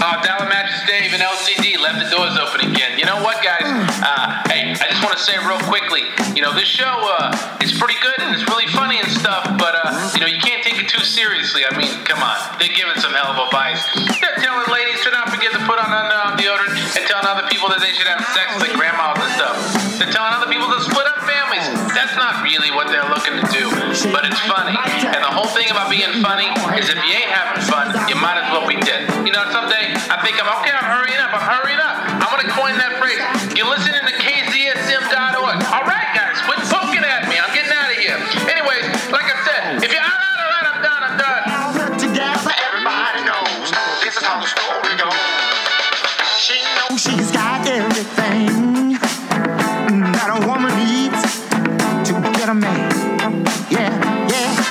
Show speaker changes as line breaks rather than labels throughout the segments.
Uh, Dollar Matches Dave and LCD left the doors open again. You know what, guys? Uh, hey, I just want to say real quickly, you know, this show uh, is pretty good and it's really funny and stuff, but, uh, you know, you can't take it too seriously. I mean, come on. They're giving some hell of advice. They're telling ladies to not forget to put on underarm deodorant and telling other people that they should have sex like grandmas and stuff. They're telling other people to split up families. That's not really what they're looking to do, but it's funny. And the whole thing about being funny is if you ain't having fun, you might as well be dead. You know, someday I think I'm okay, I'm hurrying up, I'm hurrying up. I'm gonna coin that phrase. You're listening to KZSM.org. All right, guys, quit poking at me. I'm getting out of here. Anyways, like I said, if you're out, out, all right, I'm done, I'm done.
Together,
Everybody knows this is how the story goes. She knows
oh, she's got everything that a woman needs to get a man. Yeah, yeah.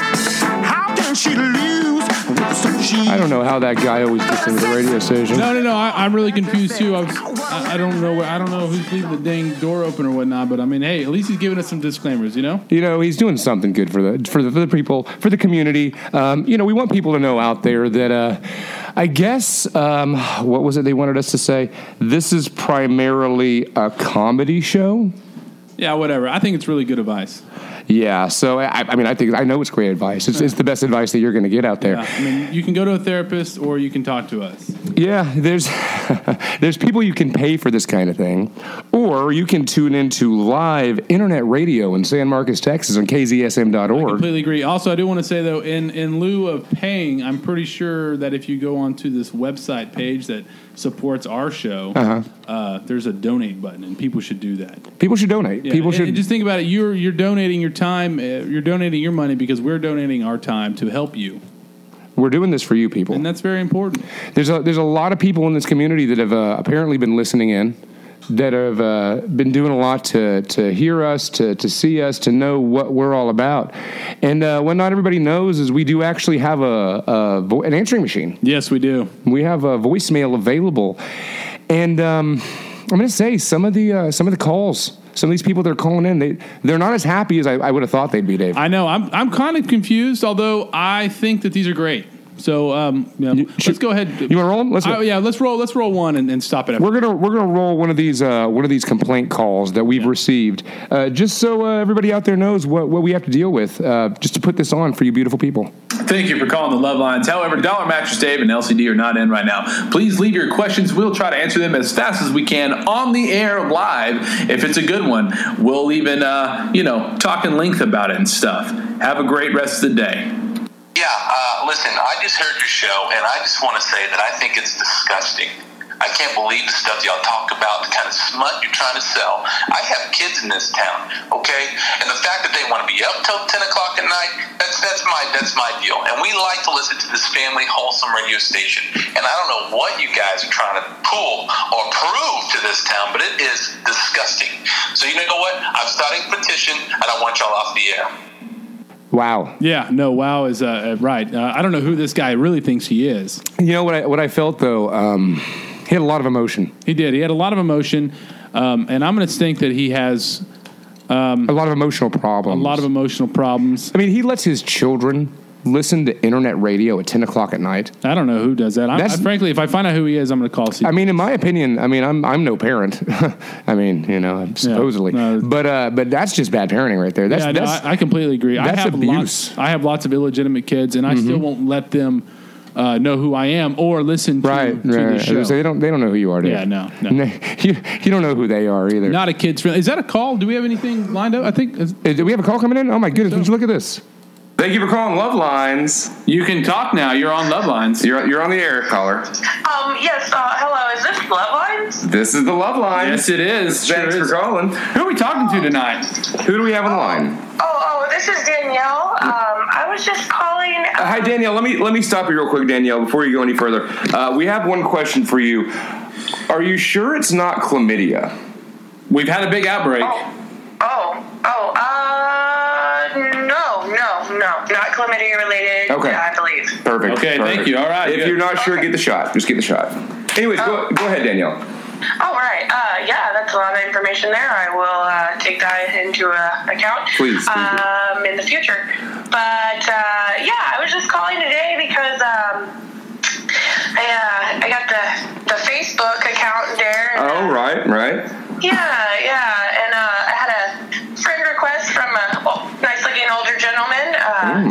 How can she lose with so she?
I don't know how that guy always gets into the radio station.
No, no, no. I, I'm really confused too. I, was, I, I don't know. where- I don't know who's leaving the dang door open or whatnot. But I mean, hey, at least he's giving us some disclaimers. You know.
You know, he's doing something good for the for the, for the people, for the community. Um, you know, we want people to know out there that uh, I guess um, what was it they wanted us to say? This is primarily a comedy show.
Yeah, whatever. I think it's really good advice.
Yeah, so I, I mean, I think I know it's great advice. It's, it's the best advice that you're going to get out there.
Yeah, Uh, I mean, you can go to a therapist or you can talk to us.
Yeah, there's there's people you can pay for this kind of thing, or you can tune into live internet radio in San Marcos, Texas, on KZSM.org.
Completely agree. Also, I do want to say though, in in lieu of paying, I'm pretty sure that if you go onto this website page that supports our show,
Uh-huh.
uh there's a donate button, and people should do that.
People should donate.
Yeah,
people
and-
should
and just think about it. You're you're donating your time, uh, you're donating your money because we're donating our time to help you,
We're doing this for you, people.
and that's very important.
There's a there's a lot of people in this community that have uh, apparently been listening in, that have uh, been doing a lot to to hear us, to to see us, to know what we're all about. And uh, what not everybody knows is we do actually have a, a vo- an answering machine.
Yes, we do.
We have a voicemail available, and um, I'm going to say some of the uh, some of the calls. Some of these people that are calling in, they they're not as happy as I, I would have thought they'd be, Dave.
I know. I'm I'm kind of confused, although I think that these are great. So um, yeah,
should-
let's go ahead.
you wanna roll 'em? Let's go.
Oh, yeah, let's roll. Let's roll one and, and stop it. After.
We're gonna we're gonna roll one of these uh, one of these complaint calls that we've received, uh, just so uh, everybody out there knows what, what we have to deal with, uh, just to put this on for you beautiful people.
Thank you for calling the Love Lines. However, Dollar Mattress Dave and LCD are not in right now. Please leave your questions. We'll try to answer them as fast as we can on the air live. If it's a good one, we'll even uh, you know talk in length about it and stuff. Have a great rest of the day.
Yeah, uh, listen, I just heard your show, and I just want to say that I think it's disgusting. I can't believe the stuff y'all talk about, the kind of smut you're trying to sell. I have kids in this town, okay? And the fact that they want to be up till 10 o'clock at night, that's, that's, my, that's my deal. And we like to listen to this family wholesome radio station. And I don't know what you guys are trying to pull or prove to this town, but it is disgusting. So you know what? I'm starting a petition, and I want y'all off the air.
Wow,
Yeah, no, wow is uh, uh, right. Uh, I don't know who this guy really thinks he is.
you know what I what I felt though, um, he had a lot of emotion,
He did. He had a lot of emotion, um, and I'm going to think that he has
a lot of emotional
Hmm. a
problems,
lot of emotional problems.
I mean, he lets his children listen to internet radio at ten o'clock at night.
I don't know who does that. I'm, I,
That's-
frankly, if I find out who he is, I'm going to call. C-
I mean, in my opinion, I mean, I'm I'm no parent. I mean, you know, supposedly,
no.
but uh, but that's just bad parenting right there. That's
yeah, no,
that's
I, I completely agree.
that's
I have
abuse. Mm-hmm.
Lots, I have lots of illegitimate kids, and I still won't let them uh, know who I am or listen to,
Right,
to
right.
the show.
So they don't they don't know who you are. Do
Yeah,
you?
no, no.
you, you don't know who they are either.
Not a kid's friend. Is that a call? Do we have anything lined up? I think. Is,
Uh, Do we have a call coming in? Oh my goodness! Would you look at this?
Thank you for calling Love Lines. You can talk now. You're on Love Lines. You're you're on the air, caller.
Um, yes, uh, hello, is this Lovelines?
This is the Love Lines. Yes, it is. Thanks for calling. Who are we talking to tonight? Who do we have on the line?
Oh, oh, this is Danielle. Um, I was just calling.
Uh, Hi Danielle, let me let me stop you real quick, Danielle, before you go any further. Uh, we have one question for you. Are you sure it's not chlamydia? We've had a big outbreak.
Oh, oh, uh, no, no, no, not chlamydia related,
Okay.
I believe.
Perfect.
Okay, thank you. All right,
If
good.
you're not sure, get the shot. Just get the shot. Anyways, go, go ahead, Danielle.
All right, uh, yeah, that's a lot of information there. I will uh, take that into uh, account.
Please, thank you.
um, in the future. But uh, yeah, I was just calling today because um, I, uh, I got the
right, right.
uh, Yeah, yeah. And uh, I had a friend request from a well, nice looking older gentleman.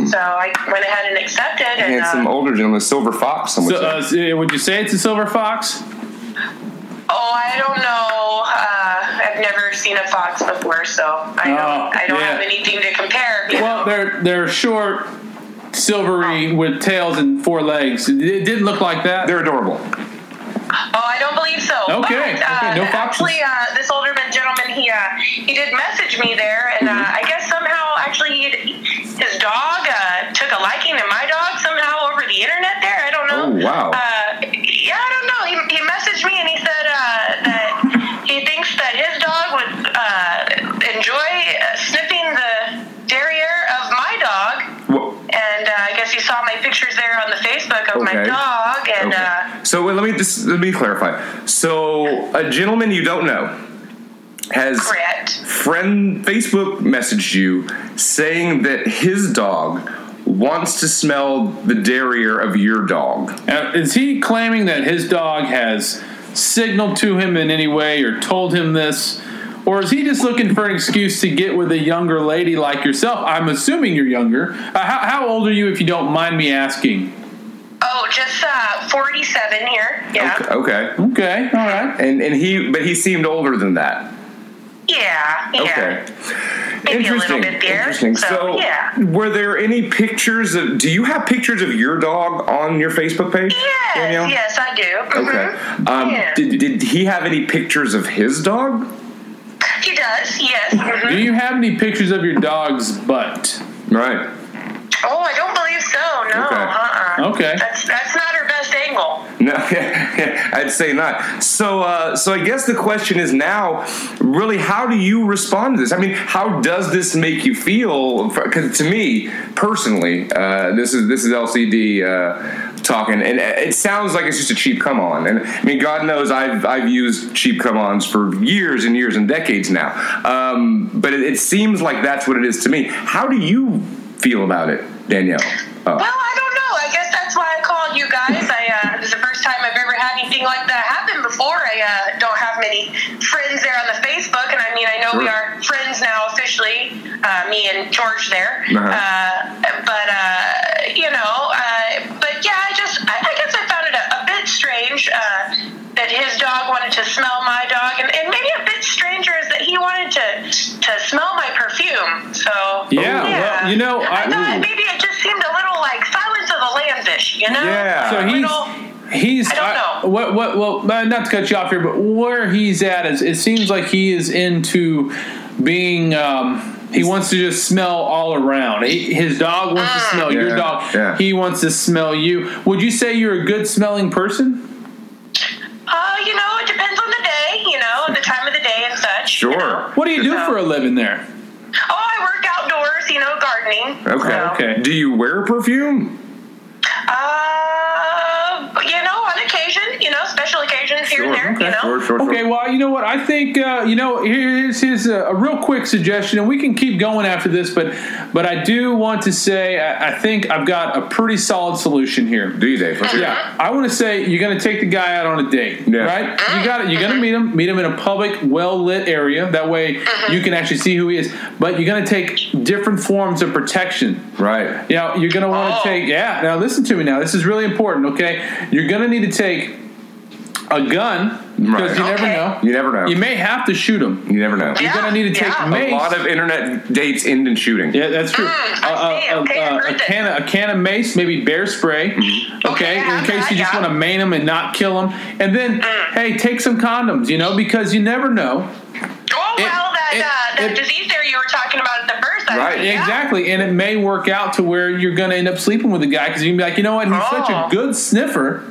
Uh, So I went ahead and accepted. And,
Handsome
uh,
older gentleman, silver fox. Some would
So,
say.
uh, so would you say it's a silver fox?
oh, I don't know. Uh, I've never seen a fox before, so I,
Oh,
don't I don't
yeah.
have anything to compare. you
Well,
know.
they're they're short, silvery with tails and four legs. It it didn't look like that.
They're adorable.
Oh, I don't believe so.
Okay,
But, uh,
okay, no foxes.
actually, uh, this older man- gentleman, he uh, he did message me there, and uh, I guess somehow, actually, he his dog uh, took a liking to my dog somehow over the internet. There, I don't know.
Oh, wow.
Uh, yeah, I don't know. He, he messaged me and he said uh, that he thinks that his dog would uh, enjoy uh, sniffing the derriere of my dog.
Wha-
And uh, I guess you saw my pictures there on the Facebook of my
Okay.
dog, and. Uh,
Okay. So wait, let me this, let me clarify. So a gentleman you don't know has
Correct.
friend Facebook messaged you saying that his dog wants to smell the derriere of your dog.
Uh, is he claiming that his dog has signaled to him in any way or told him this? Or is he just looking for an excuse to get with a younger lady like yourself? I'm assuming you're younger. Uh, how, how old are you, if you don't mind me asking?
Oh, just uh, 47 here. Yeah.
Okay.
Okay, all right.
And and he but he seemed older than that.
Yeah. Yeah.
Okay.
Maybe a little bit there.
Interesting. So,
So, yeah.
were there any pictures of? Do you have pictures of your dog on your Facebook page?
Yes,
Danielle?
yes, I do. Mhm.
Okay. Um,
Yeah.
did, did he have any pictures of his dog?
He does, yes. mhm.
Do you have any pictures of your dog's butt?
Right.
Oh, I don't believe so. No,
Okay.
uh-uh.
Okay.
That's, that's not her best angle.
No, I'd say not. So, uh, so I guess the question is now, really, how do you respond to this? I mean, how does this make you feel? Because to me, personally, uh, this is this is LCD uh, talking, and it sounds like it's just a cheap come on. And I mean, God knows I've I've used cheap come ons for years and years and decades now. Um, but it, it seems like that's what it is to me. How do you feel about it, Danielle?
Oh.
Well,
Uh,
I don't know. I guess that's why I called you guys. I uh, it was the first time I've ever had anything like that happen before. I uh, don't have many friends there on the Facebook, and I mean, I know we
Sure.
are friends now officially, uh, me and George there.
Uh-huh.
Uh, but uh, you know, uh, but yeah, I just I, I guess I found it a, a bit strange. Uh, that his dog wanted to smell my dog, and, and maybe a bit stranger is that he wanted to to smell my perfume. So
Yeah, well, you know,
I,
I-
thought maybe it just seemed a little like Silence of the Lambs-ish, you know?
Yeah.
So
A
he's
little-
he's
Uh, I don't know.
what what well uh, not to cut you off here, but where he's at is it seems like he is into being. Um, he wants to just smell all around. He, his dog wants
Ah.
to smell your
Yeah,
dog.
yeah.
He wants to smell you. Would you say you're a good smelling person?
uh, you know, it depends on the day, you know, the time of the day and such. you know.
sure.
What do you do
No.
for a living there?
Oh, I work outdoors, you know, gardening.
Okay.
so,
Okay.
Do you wear perfume?
Uh, but, you know, on occasion, you know, special occasions here and there, you know.
Okay, well, you know what? I think uh, you know. Here's here's a, a real quick suggestion, and we can keep going after this, but but I do want to say I, I think I've got a pretty solid solution here.
Do they? For sure.
Yeah, I want to say you're going to take the guy out on a date,
Yeah.
right? You got to You're going to meet him. Meet him in a public, well lit area. That way, you can actually see who he is. But you're going to take different forms of protection.
Right.
You know, you're going to want to
Oh.
take. Yeah. Now listen to me. Now this is really important. Okay, you're going to need to take a gun
Right.
because you never
Okay.
know.
You never know.
You may have to shoot him.
You never know.
Yeah.
You're going to need to take
yeah. A
mace.
A lot of internet dates end in shooting.
Yeah, that's true.
I see.
Uh, uh,
Mm, Okay,
uh,
I
a
heard that. Mm-hmm.
can of, a can of mace, maybe bear spray.
Okay,
Okay, in
I have
case
that,
you just
yeah. Mm.
want to main them and not kill them, and then hey, take some condoms, you know, because you never know.
Oh,
It-
well, that,
it-
uh, that
it-
disease there you were talking about at the first, I
Right,
think, yeah.
Exactly, and it may work out to where you're going to end up sleeping with a guy because you can be like, you know what, he's such a
Oh.
good sniffer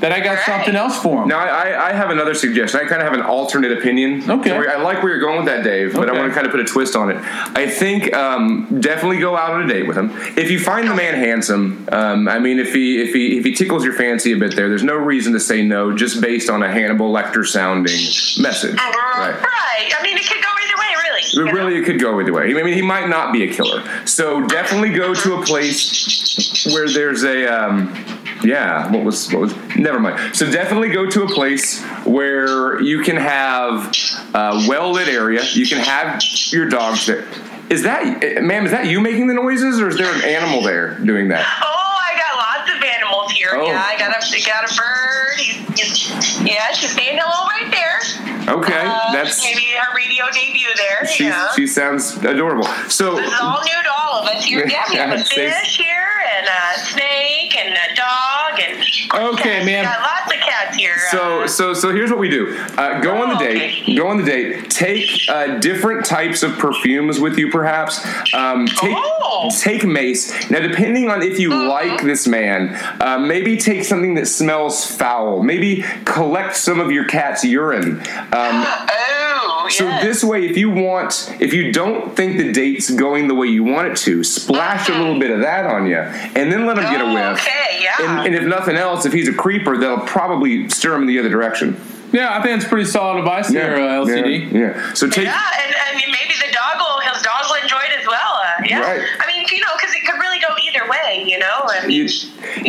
that I got
Right.
something else for him.
Now, I, I- I have another suggestion. I kind of have an alternate opinion.
Okay.
So we- I like where you're going with that, Dave, but
Okay.
I want to kind of put a twist on it. I think um, definitely go out on a date with him. If you find the man handsome, um, I mean, if he if he if he tickles your fancy a bit, there, there's no reason to say no just based on a Hannibal Lecter sounding message.
Uh, Right. I mean, it could go either way, really. you
It
know?
really it could go either way. I mean, he might not be a killer. So definitely go to a place where there's a um,
yeah what was what was never mind so definitely go to a place where you can have
uh,
a well-lit area you can have your dogs there is that eh, ma'am is that you making the noises or is there an animal there doing that
Oh, I got lots of animals here.
Oh.
Yeah, I got a got a bird. He's, he's, yeah, she's staying all right there.
okay
Uh,
that's
maybe her radio debut there.
she,
yeah.
she sounds adorable so
This is all new to all of us here. Yeah, we have
Yeah,
a
thanks.
fish here and a snake and a dog and
Okay,
cats. We
ma'am.
Got lots of cats here.
So
Uh,
so so here's what we do. Uh, go on the
Oh,
date.
okay.
Go on the date. Take uh, different types of perfumes with you, perhaps. Um, take
Oh.
take mace. Now, depending on if you
Mm-hmm.
like this man, uh, maybe take something that smells foul. Maybe collect some of your cat's urine. Um,
oh,
so
yes.
this way, if you want, if you don't think the date's going the way you want it to, splash a little bit of that on you, and then let him get a
Oh,
whiff.
Mm-hmm. okay, yeah.
And, and if nothing else, if he's a creeper, that'll probably steer him in the other direction.
Yeah, I think it's pretty solid advice there, uh, LCD.
Yeah, yeah. So take.
yeah, and, and maybe the dog will his dog will enjoy it as well. Uh, yeah,
Right.
I mean, you know, because it could really go either way. You know, I mean,
You-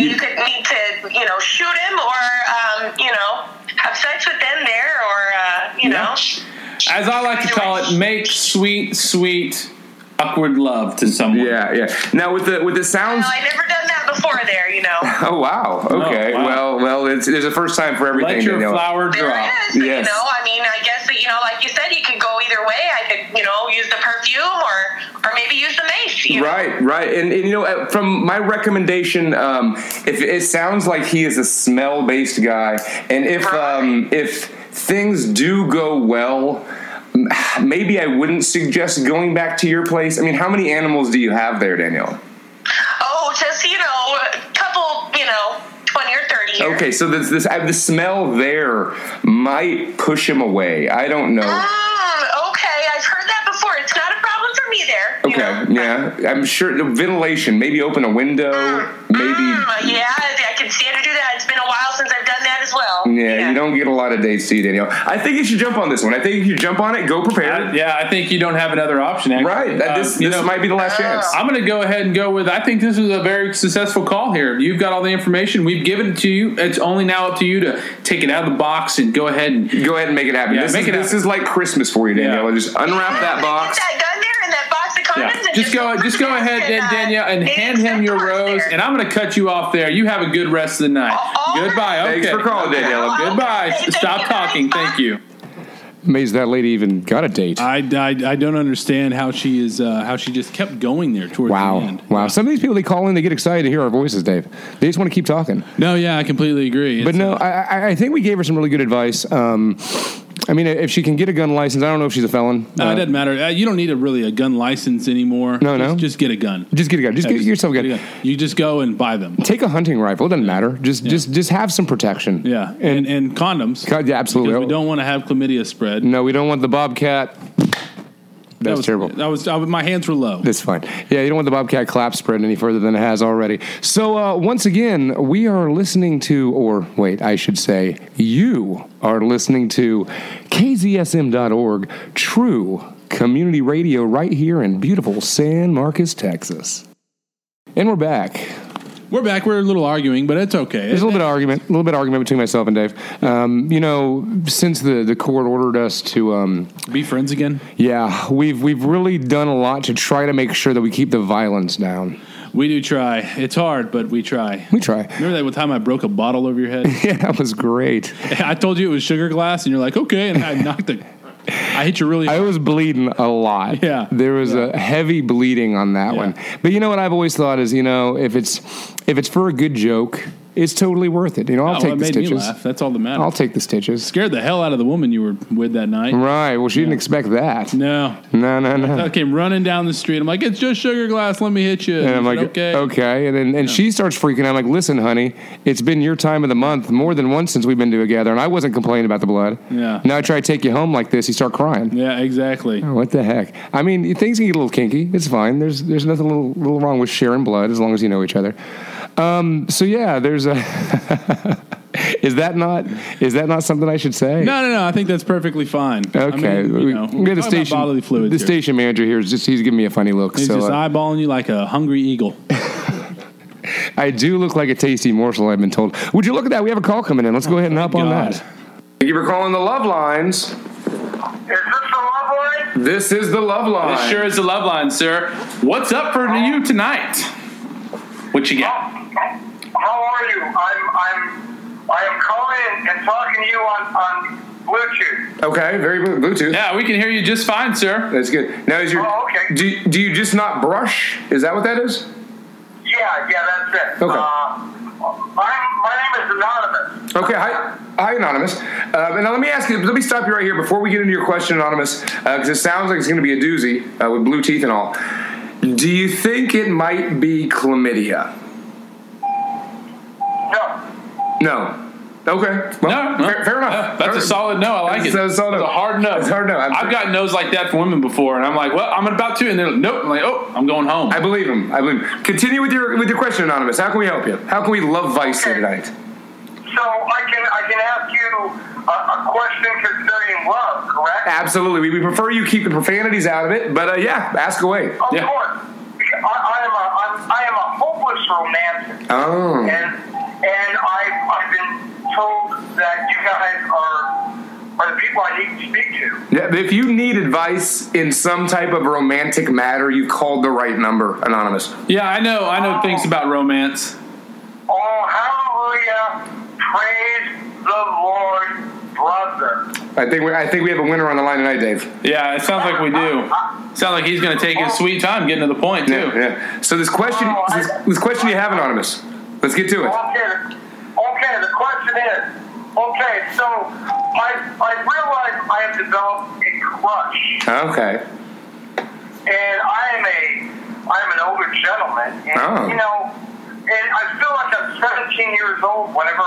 you,
you-
could need to, you know, shoot him or, um, you know, have sex with them there, or uh, you know,
As I like to call it, make sweet, sweet, awkward love to someone.
Yeah, yeah. Now with the with the sounds.
well, I never done that before. There, you know,
Oh wow. Okay.
wow.
Well, well, it's, there's a first time for everything.
Let your
Danielle.
flower
there
drop.
it is.
Yes.
You know, I mean, I guess that you know, like you said, you could go either way. I could, you know, use the perfume or, or maybe use the mace. You know?
Right, right, and, and you know, uh, from my recommendation, um, if it sounds like he is a smell-based guy, and if um, if things do go well, m- maybe I wouldn't suggest going back to your place. I mean, how many animals do you have there, Danielle?
Oh, just you know, a couple, you know, twenty or thirty. Years.
Okay, so this this uh, the smell there might push him away. I don't know.
Mm, okay, I've heard that before. It's not a problem for me there. you
Okay,
know.
yeah, I'm sure the ventilation. Maybe open a window. Maybe.
Mm, yeah, I can stand to do that. It's been a while since I've done that as well.
Yeah, you don't get a lot of dates, do you, Danielle? I think you should jump on this one. I think if you jump on it, go prepared.
I- Uh, yeah, I think you don't have another option. Actually.
Right. That,
Uh,
this
you
this
know,
might be the last
Oh.
chance.
I'm going to go ahead and go with. I think this was a very successful call here. You've got all the information. We've given it to you. It's only now up to you to take it out of the box and go ahead and
Go ahead and make it happen.
Yeah,
this,
make
is,
it
this is like Christmas for you, Danielle.
Yeah.
Just unwrap that box.
Get that gun there and that box of
Yeah.
condoms. And
Just go, just go ahead,
uh,
Dan- Danielle, and hand him your rose. And I'm going to cut you off there. You have a good rest of the night.
All right.
Goodbye. Okay.
Thanks for calling, Danielle.
Good-
Goodbye.
Okay, thank
Stop
you, guys.
talking.
Bye.
Thank you.
Amazed that lady even got a date.
I, I, I don't understand how she is uh, how she just kept going there towards the
Wow.
end.
Wow. Some of these people, they call in, they get excited to hear our voices, Dave. They just want to keep talking.
No, yeah, I completely agree.
But
It's-
no, I, I- I think we gave her some really good advice. Um, I mean, if she can get a gun license, I don't know if she's a felon.
No,
Uh,
it doesn't matter. Uh, you don't need a really a gun license anymore.
No,
just,
no.
Just get a gun.
just get a gun. Just
Yeah,
get yourself a
get
gun.
You just go and buy them.
Take a hunting rifle. It doesn't matter. Just, just, just have some protection.
Yeah, and and condoms.
God, yeah, absolutely.
Because we don't want to have chlamydia spread.
No, we don't want the bobcat.
That
That's
was
terrible.
That was I, my hands were low.
That's fine. Yeah, you don't want the Bobcat clap spread any further than it has already. So, uh, once again, we are listening to, or wait, I should say, you are listening to KZSM.org True Community Radio right here in beautiful San Marcos, Texas. And we're back.
We're back. We're a little arguing, but it's okay.
There's a little bit of argument, a little bit of argument between myself and Dave. Um, you know, since the, the court ordered us to um,
Be friends again.
Yeah, we've we've really done a lot to try to make sure that we keep the violence down.
We do try. It's hard, but we try.
We try.
Remember that one time I broke a bottle over your head?
Yeah, that was great.
I told you it was sugar glass, and you're like, okay, and I knocked the. I hit you really.
I was bleeding a lot.
Yeah.
There was a heavy bleeding on that
Yeah.
one. But you know what I've always thought is, you know, if it's if it's for a good joke, it's totally worth it. You know, I'll
Oh,
take
it
the
made me
stitches.
laugh. That's all that matters.
I'll take the stitches.
Scared the hell out of the woman you were with that night.
Right. Well, she didn't expect that.
No,
No, no, no.
I came running down the street. I'm like, it's just sugar glass. Let me hit you.
And I'm
He
like,
said,
okay. And then and she starts freaking out. I'm like, listen, honey, it's been your time of the month more than once since we've been together, and I wasn't complaining about the blood.
Yeah.
Now I try to take you home like this, you start crying.
Yeah, exactly.
Oh, What the heck? I mean, things can get a little kinky. It's fine. There's there's nothing little, little wrong with sharing blood as long as you know each other. Um, so yeah, there's a. is that not is that not something I should say?
No, no, no. I think that's perfectly fine. I mean,
Okay.
you know,
we, we got the
we're talking about
station.
bodily
the
fluids. here.
station manager here is just he's giving me a funny look. uh,
He's
so
just
uh,
eyeballing you like a hungry eagle.
I do look like a tasty morsel. I've been told. Would you look at that? We have a call coming in. Let's
Oh,
go ahead and hop on
God.
that.
Thank you for calling the love lines.
Is this the love line?
This is the love line.
This sure is the love line, sir. What's up for you tonight? What you got?
How are you? I'm I'm I am calling and talking to you on on Bluetooth.
Okay, very good. Bluetooth.
Yeah, we can hear you just fine, sir.
That's good. Now is your
Oh, okay.
do, do you just not brush? Is that what that is?
Yeah, yeah, that's it.
Okay.
Uh, I'm, my name is Anonymous.
Okay, hi, hi, anonymous. Uh, and now let me ask you. Let me stop you right here before we get into your question, anonymous, because it sounds like it's going to be a doozy uh, with blue teeth and all. Do you think it might be chlamydia?
No.
No. Okay. Well,
No, no.
Fair, fair enough.
Yeah, that's
Fair-
a solid no. I like it.
That's a solid no.
That's a hard no.
That's a hard no. I'm-
I've gotten no's like that from women before, and I'm like, well, I'm about to, and they're like, nope. I'm like, oh, I'm going home.
I believe him. I believe him. Continue with your with your question, anonymous. How can we help you? How can we love Vice
Okay.
tonight?
So I can I can ask you a, a question concerning love, correct?
Absolutely. We, we prefer you keep the profanities out of it, but uh, yeah, ask away.
Of
Yeah.
course. I, I am a I'm, I am a hopeless romantic.
Oh.
and and I've, I've been told that you guys are are the people I need to speak to.
Yeah, but if you need advice in some type of romantic matter, you've called the right number, Anonymous.
yeah, I know. I know things about romance.
Oh, hallelujah! Praise the Lord, brother.
I think we, I think we have a winner on the line tonight, Dave.
Yeah, it sounds like we do. Sounds like he's going to take his sweet time getting to the point too.
Yeah, yeah. So this question,
Oh, I-
this, this question you have, Anonymous. Let's get to it.
Okay, okay. The question is, okay. So I I realize I have developed a crush,
Okay.
and I am a I'm an older gentleman, and
Oh.
you know, and I feel like I'm 17 years old whenever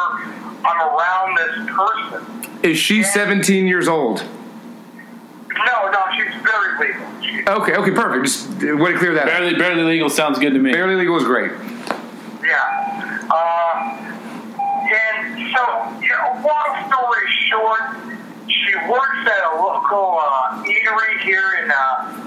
I'm around this person.
Is she 17 years old?
No, no, she's very legal. She,
Okay. Okay. Perfect. Just uh, way to clear that. up.
Barely, barely legal sounds good to me.
Barely legal is great.
yeah. Uh, and so, you know, long story short, she works at a local uh, eatery here in uh,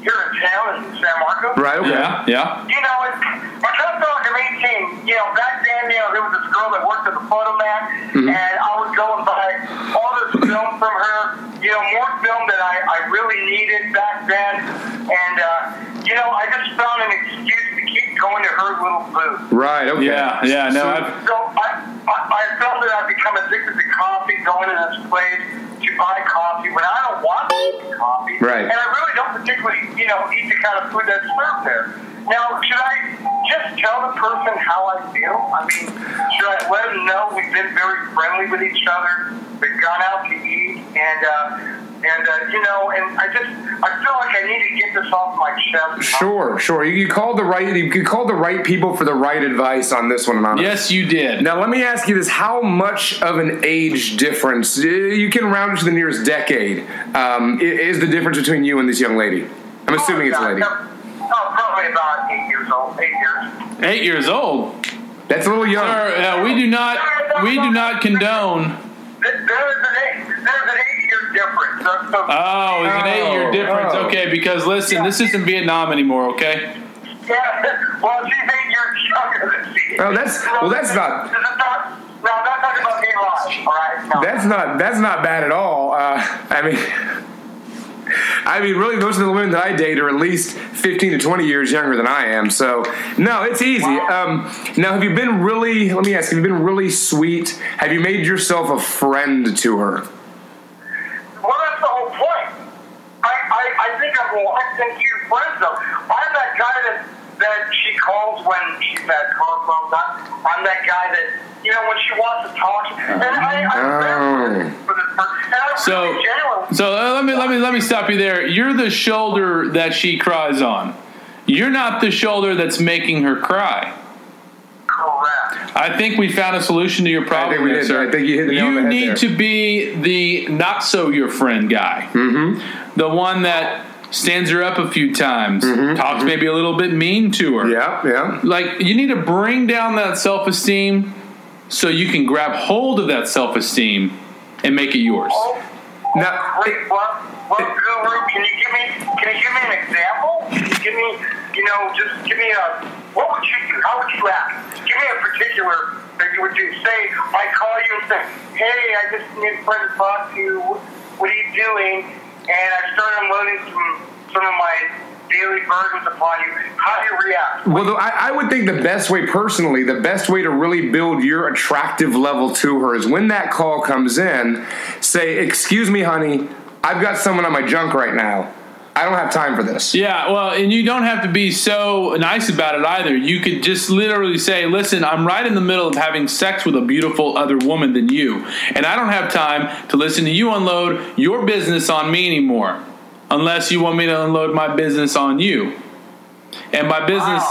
here in town in San Marcos.
Right. Okay.
Yeah, yeah.
You know, it's, I kind of felt like I'm 18. You know, back then, you know, there was this girl that worked at the photomat,
Mm-hmm.
and I would go and buy all this film from her. You know, more film that I, I really needed back then, and uh, you know, I just found an excuse to keep going to her little booth.
Right. Okay.
Yeah, yeah, no,
So-
I've-
So I, I, I felt that I'd become addicted to coffee, going to this place to buy coffee when I don't want to eat coffee.
Right.
And I really don't particularly, you know, eat the kind of food that's served there. Now, should I just tell the person how I feel? I mean, should I let them know we've been very friendly with each other, we've gone out to eat, and, uh, and uh, you know, and I just, I feel like I need to get this off my chest.
Sure, sure. You, you called the right. You called the right people for the right advice on this one, Anonymous.
Yes, you did.
Now let me ask you this: How much of an age difference? uh, You can round it to the nearest decade. Um, i- is the difference between you and this young lady? I'm assuming it's a lady.
Oh, probably about eight years old, eight years.
Eight years old.
That's a little young.
Sir, uh, we do not, we do not condone.
There- There's an eight, there's an eight year difference. So, so,
Uh.
Oh, it's an eight-year
Oh,
difference.
oh.
Okay, because listen, this isn't Vietnam anymore. Okay.
yeah, well, she's eight years younger than she is.
Oh, that's- well, that's not-
This is not no, I'm not talking about being lost, all right? No.
That's not that's not bad at all. Uh, I mean, I mean, really, most of the women that I date are at least fifteen to twenty years younger than I am. So no, it's easy. Um, now, have you been really? Let me ask. Have you been really sweet? Have you made yourself a friend to her?
Well, that's the whole point. I, I, I think I'm locked into friends, though. I'm that guy that, that she calls when she's had car problems. I'm, I'm that guy that, you know, when she wants to talk. And I, I'm
Oh.
there for this person. And I'm
So,
really genuine.
so uh, let me let me let me stop you there. You're the shoulder that she cries on. You're not the shoulder that's making her cry.
Correct.
I think we found a solution to your problem,
think we
there,
did.
sir.
I think you hit the nail on the head
need
there.
to be the not so your friend guy, mm-hmm. the one that stands her up a few times, talks maybe a little bit mean to her.
Mm-hmm. Yeah, yeah.
like you need to bring down that self-esteem so you can grab hold of that self-esteem and make it yours
Oh,
Now,
Wait, what? What guru? Can you give me? Can you give me an example? Give me, you know, just give me a. What would you do? How would you act? Give me a particular that you would do. Say, I call you and say, Hey, I just need a friend to talk to you. What are you doing? And I start unloading some some of my daily burdens upon you. How do you react?
well, though, I, I would think the best way, personally, the best way to really build your attractive level to her is when that call comes in, say, "Excuse me, honey, I've got someone on my junk right now. I don't have time for this."
Yeah, well, and you don't have to be so nice about it either. You could just literally say, "Listen, I'm right in the middle of having sex with a beautiful other woman than you, and I don't have time to listen to you unload your business on me anymore, unless you want me to unload my business on you." And by business,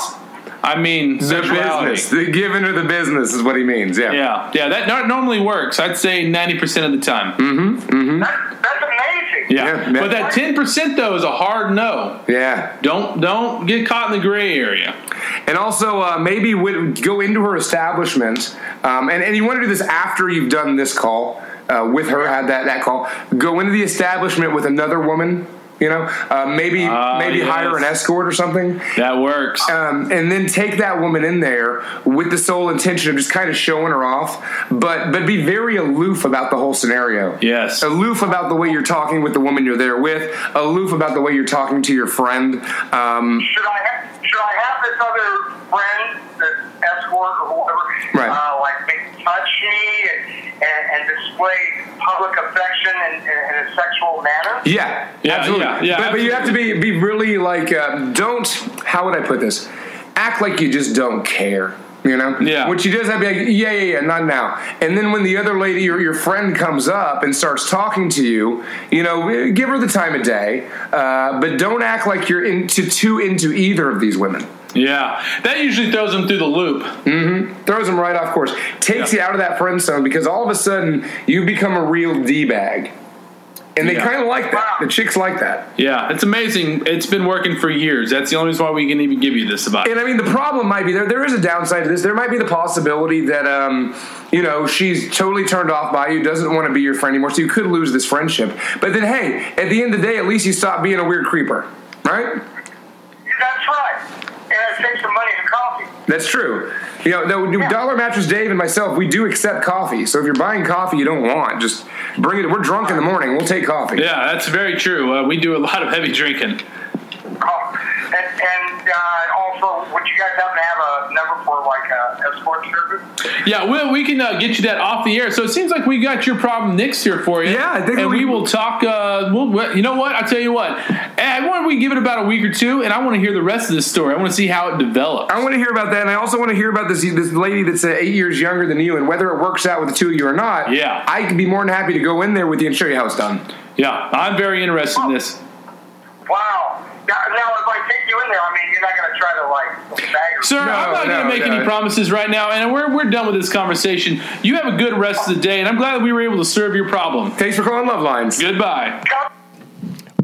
I mean
The
sexuality.
business, the giving her the business is what he means. Yeah.
Yeah, yeah, that nor- normally works. I'd say ninety percent of the time.
That's, that's amazing.
Mm,
Yeah.
Yeah, yeah.
but that ten percent though is a hard no.
Yeah.
Don't don't get caught in the gray area.
And also, uh, maybe would go into her establishment, um, and, and you want to do this after you've done this call uh, with her, had that, that call. Go into the establishment with another woman, you know, uh, maybe
Ah,
maybe
yes.
hire an escort or something.
That works.
Um, and then take that woman in there with the sole intention of just kind of showing her off, but but be very aloof about the whole scenario.
Yes.
aloof about the way you're talking with the woman you're there with, aloof about the way you're talking to your friend. Um,
Should I have, should I have this other friend, the escort or whoever,
Right.
uh, like make- touch me and, and, and display public affection in, in, in a sexual manner?
yeah,
Yeah,
absolutely.
yeah, yeah,
but, but you have to be be really like uh, don't. How would I put this? Act like you just don't care. You know,
Yeah.
What she does, I'd be like, yeah, yeah, yeah, not now. And then when the other lady or your friend comes up and starts talking to you, you know, eh, give her the time of day, uh, but don't act like you're into too into either of these women.
Yeah, that usually throws them through the loop.
throws him right off course, takes
Yeah.
you out of that friend zone because all of a sudden you become a real d bag, and they
Yeah.
kind of like that. The chicks like that,
Yeah, it's amazing. It's been working for years. That's the only reason why we can even give you this advice.
and I mean the problem might be there. There is a downside to this. There might be the possibility that um, you know she's totally turned off by you, doesn't want to be your friend anymore, so you could lose this friendship. But then hey, at the end of the day, at least you stop being a weird creeper, right?
That's right. And I save some money to coffee.
That's true. You know, though, Dollar Mattress Dave and myself, we do accept coffee. So if you're buying coffee you don't want, just bring it. We're drunk in the morning. We'll take coffee.
Yeah, that's very true. Uh, we do a lot of heavy drinking.
Oh, and and uh, also, would you guys happen to have a number for like a escort service?
Yeah, well, we can uh, get you that off the air. So it seems like we got your problem next year for you.
Yeah, I think
and we,
we-
will talk. Uh, we'll, well, you know what? I'll tell you what. And why don't we give it about a week or two? And I want to hear the rest of this story. I want to see how it develops.
I want to hear about that, and I also want to hear about this this lady that's uh, eight years younger than you, and whether it works out with the two of you or not.
Yeah.
I could be more than happy to go in there with you and show you how it's done.
Yeah, I'm very interested in this.
Wow. Now, now, if I take you in there, I mean, you're not going to try to like bag her.
Sir, I'm not
No,
going to
no,
make
no.
any promises right now, and we're, we're done with this conversation. You have a good rest of the day, and I'm glad that we were able to serve your problem.
Thanks for calling Love Lines.
Goodbye.
Come-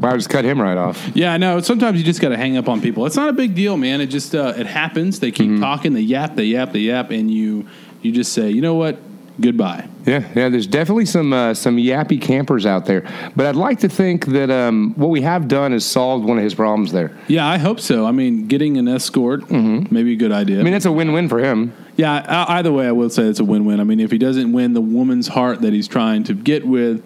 Wow, I just cut him right off.
Yeah, I know. Sometimes you just got to hang up on people. It's not a big deal, man. It just uh, it happens. They
Mm-hmm.
keep talking. They yap. They yap. They yap, and you you just say, you know what? Goodbye.
Yeah, yeah. There's definitely some uh, some yappy campers out there, but I'd like to think that um, what we have done is solved one of his problems there.
Yeah, I hope so. I mean, getting an escort,
Mm-hmm.
maybe a good idea.
I mean, that's a win-win for him.
yeah, e- either way, I will say it's a win-win. I mean, if he doesn't win the woman's heart that he's trying to get with,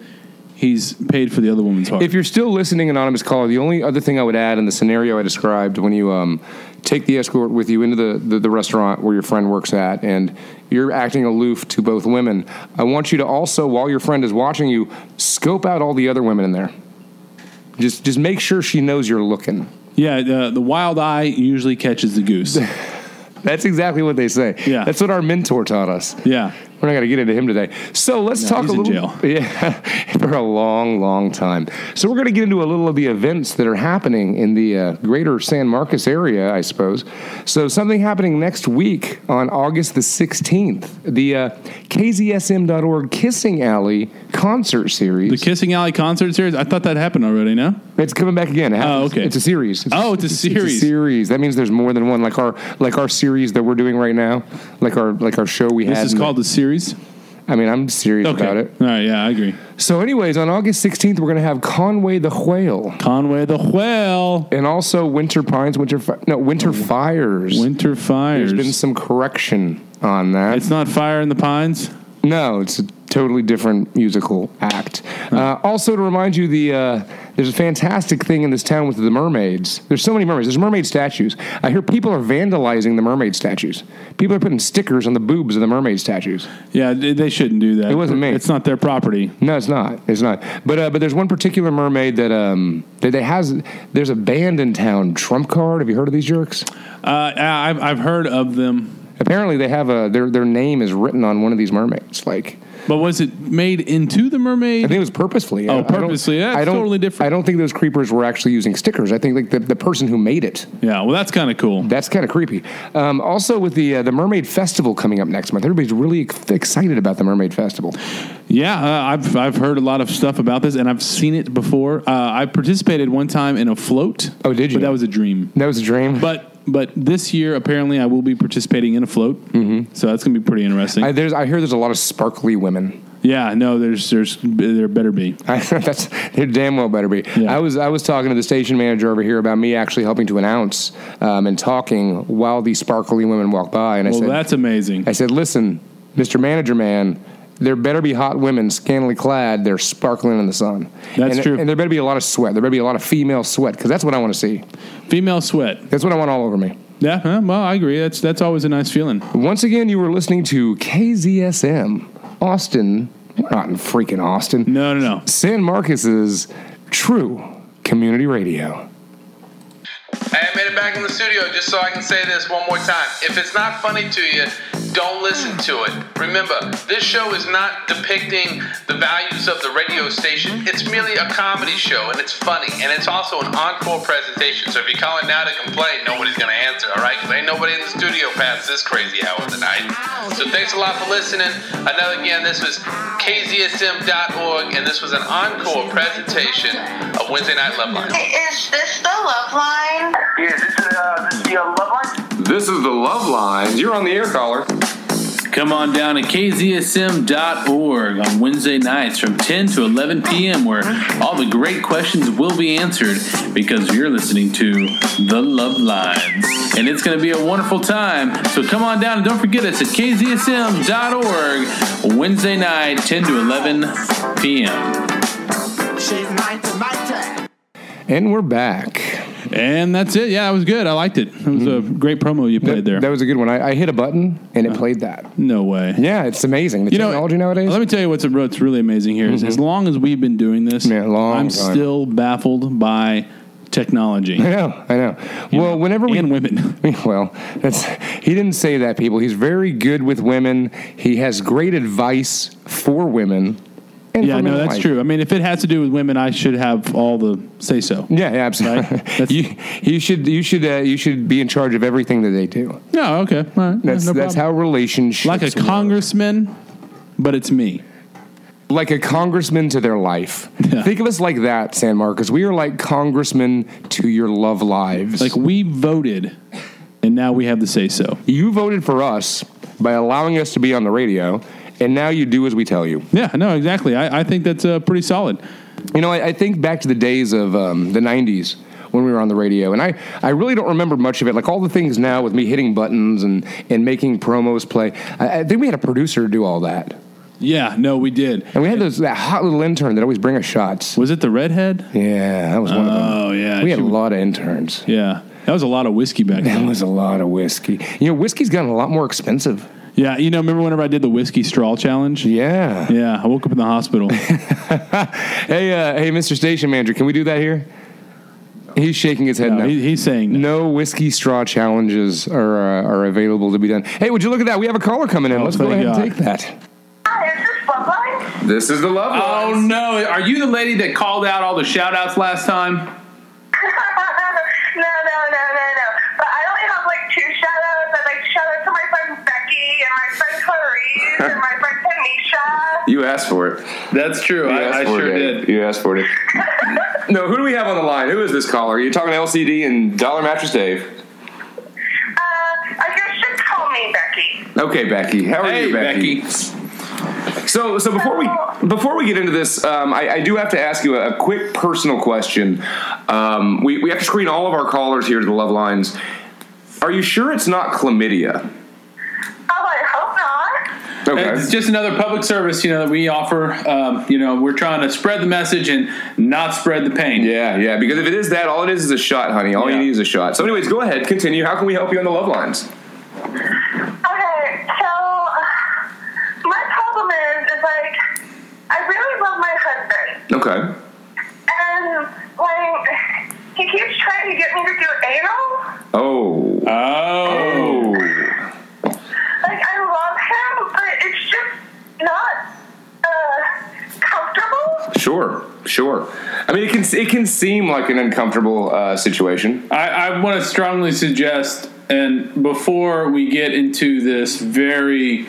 he's paid for the other woman's heart.
If you're still listening, anonymous caller, the only other thing I would add in the scenario I described when you um, take the escort with you into the, the, the restaurant where your friend works at and you're acting aloof to both women, I want you to also, while your friend is watching you, scope out all the other women in there. Just just make sure she knows you're looking.
yeah, the, the wild eye usually catches the goose.
That's exactly what they say.
Yeah.
That's what our mentor taught us.
yeah.
We're not going to get into him today. So let's
No,
talk
he's
a
in
little.
jail.
Yeah, for a long, long time. So we're going to get into a little of the events that are happening in the uh, greater San Marcos area, I suppose. So something happening next week on August the 16th, the uh, KZSM.org Kissing Alley concert series.
The Kissing Alley concert series, I thought that happened already, no?
It's coming back again. It happens.
okay.
It's a series.
Oh, it's a series.
series. That means there's more than one. Like our like our series that we're doing right now. Like our like our show we had.
This is
in the-
called the series.
I mean, I'm serious about it.
All right. Yeah, I agree.
So, anyways, on August 16th, we're going to have Conway the Whale
Conway the Whale.
and also Winter Pines, Winter Fi- no Winter Fires.
Winter fires.
There's been some correction on that.
it's not fire in the pines.
No, it's a totally different musical act. Uh, also, to remind you, the uh, there's a fantastic thing in this town with the mermaids. There's so many mermaids. There's mermaid statues. I hear people are vandalizing the mermaid statues. People are putting stickers on the boobs of the mermaid statues.
Yeah, they they shouldn't do that.
It wasn't me.
It's not their property.
No, it's not. It's not. But uh, but there's one particular mermaid that um that they has there's a band in town, Trump Card. Have you heard of these jerks?
Uh, I- I've I've heard of them,
Apparently, they have a their their name is written on one of these mermaids. Like
but was it made into the
I
mermaid?
think it was purposefully.
Oh,
I don't-
purposely. That's totally different.
I don't think those creepers were actually using stickers. I think like the, the person who made it.
yeah. Well, that's kind of cool.
That's kind of creepy. Um, also, with the uh, the Mermaid Festival coming up next month, everybody's really ex- excited about the Mermaid Festival.
Yeah, uh, I've I've heard a lot of stuff about this, and I've seen it before. Uh, I participated one time in a float.
Oh, did you?
But that was a dream.
That was a dream.
But but this year apparently I will be participating in a float. Mm-hmm. So that's gonna be pretty interesting.
I, there's, I hear there's a lot of sparkly women.
yeah. No, there's there's there better be.
I, that's it. Damn well better be.
Yeah.
I was I was talking to the station manager over here about me actually helping to announce um, and talking while these sparkly women walk by, and I
Well,
said,
that's amazing.
I said, listen, Mr. Manager Man, there better be hot women scantily clad. They're sparkling in the sun.
That's
And-
true.
And there better be a lot of sweat. There better be a lot of female sweat because that's what I want to see.
Female sweat.
That's what I want all over me.
Yeah. Huh? Well, I agree. That's that's always a nice feeling.
Once again, you were listening to KZSM, Austin. We're not in freaking Austin.
No, no, no.
San Marcos's True Community Radio.
Hey, I made it back in the studio just so I can say this one more time. If it's not funny to you, don't listen to it. Remember, this show is not depicting the values of the radio station. It's merely a comedy show, and it's funny, and it's also an encore presentation. So if you call in now to complain, nobody's gonna answer, all right? 'Cause ain't nobody in the studio past this crazy hour of the night. So thanks a lot for listening. Another again, this was KZSM.org, and this was an encore presentation of Wednesday Night Love Line.
Is this the love line?
Yeah, this is uh, this is the uh, love line.
This is the Love Lines. You're on the air caller.
Come on down to kzsm.org on Wednesday nights from 10 to 11 p.m., where all the great questions will be answered because you're listening to The Love Lines. And it's going to be a wonderful time. So come on down and don't forget us at kzsm.org Wednesday night, 10 to 11 p.m.
She's mine to my time.
And we're back.
And that's it. Yeah, it was good. I liked it. It was a great promo you played there.
Mm-hmm. That was a good one. I, I hit a button and it played that.
no way.
Yeah, it's amazing. The technology nowadays.
Let me tell you what's, what's really amazing here is as long as we've been doing this,
Yeah, long
I'm
time.
still baffled by technology
I know, I know. well, whenever we
and women.
Well, that's he didn't say that, people. He's very good with women. He has great advice for women. And
yeah,
for men
no, that's
alike.
true. I mean, if it has to do with women, I should have all the say so.
Yeah, yeah, absolutely.
Right? That's-
you, you should you should uh, you should be in charge of everything that they do.
No, okay, all right.
That's
no
that's
problem.
how relationships
like a
work.
congressman, but it's me.
like a congressman to their life.
Yeah.
Think of us like that, San Marcos. We are like congressmen to your love lives.
Like we voted, and now we have the say so.
you voted for us by allowing us to be on the radio, and now you do as we tell you.
Yeah, no, exactly. I, I think that's uh, pretty solid.
You know, I, I think back to the days of um, the 90s when we were on the radio, and I, I really don't remember much of it. Like all the things now with me hitting buttons and, and making promos play, I, I think we had a producer do all that.
Yeah, no, we did.
And we had those, that hot little intern that always bring us shots.
Was it the redhead?
Yeah, that was one of them.
Oh yeah,
We had
she-
a lot of interns.
yeah. That was a lot of whiskey back
That
then.
was a lot of whiskey. You know, whiskey's gotten a lot more expensive.
Yeah, you know, remember whenever I did the whiskey straw challenge?
Yeah.
Yeah, I woke up in the hospital.
Hey, uh, hey, Mr. Station Manager, can we do that here? He's shaking his head
No,
no.
he- he's saying no.
No whiskey straw challenges are uh, are available to be done. Hey, would you look at that? We have a caller coming in.
Oh,
Let's go
thank
ahead and take
God.
that.
Ah,
Hi, is this love line?
This is the Love
Oh
Lines.
no, are you the lady that called out all the shout outs last time?
no, no, no, no, no. But I only have like two shout outs. I'd like to shout out to my friend Becky and my friend Clarice and my friend Tanisha.
You asked for it.
That's true.
You asked
I, I
for
sure
it, Dave.
did.
You asked for it. no, who do we have on the line? Who is this caller? You're talking LCD and Dollar Mattress Dave.
Uh, I guess you should call me Becky.
Okay, Becky. How are
Hey,
you, Becky?
Becky.
So, so before we before we get into this, um, I, I do have to ask you a, a quick personal question. Um, we we have to screen all of our callers here to the love lines. Are you sure it's not chlamydia?
Oh, I hope not.
Okay.
Uh, It's just another public service, you know, that we offer. Um, you know, we're trying to spread the message and not spread the pain.
Yeah, yeah. Because if it is that, all it is is a shot, honey. All you
Yeah.
need is a shot. So, anyways, go ahead, continue. How can we help you on the love lines?
Okay, so uh, my problem is, is like, I really love my husband,
Okay.
and like, he keeps trying to get me to do anal.
Oh.
Oh.
Oh.
Like, I love him, but it's just not uh, comfortable.
Sure. Sure. I mean, it can it can seem like an uncomfortable uh, situation.
I, I want to strongly suggest, and before we get into this very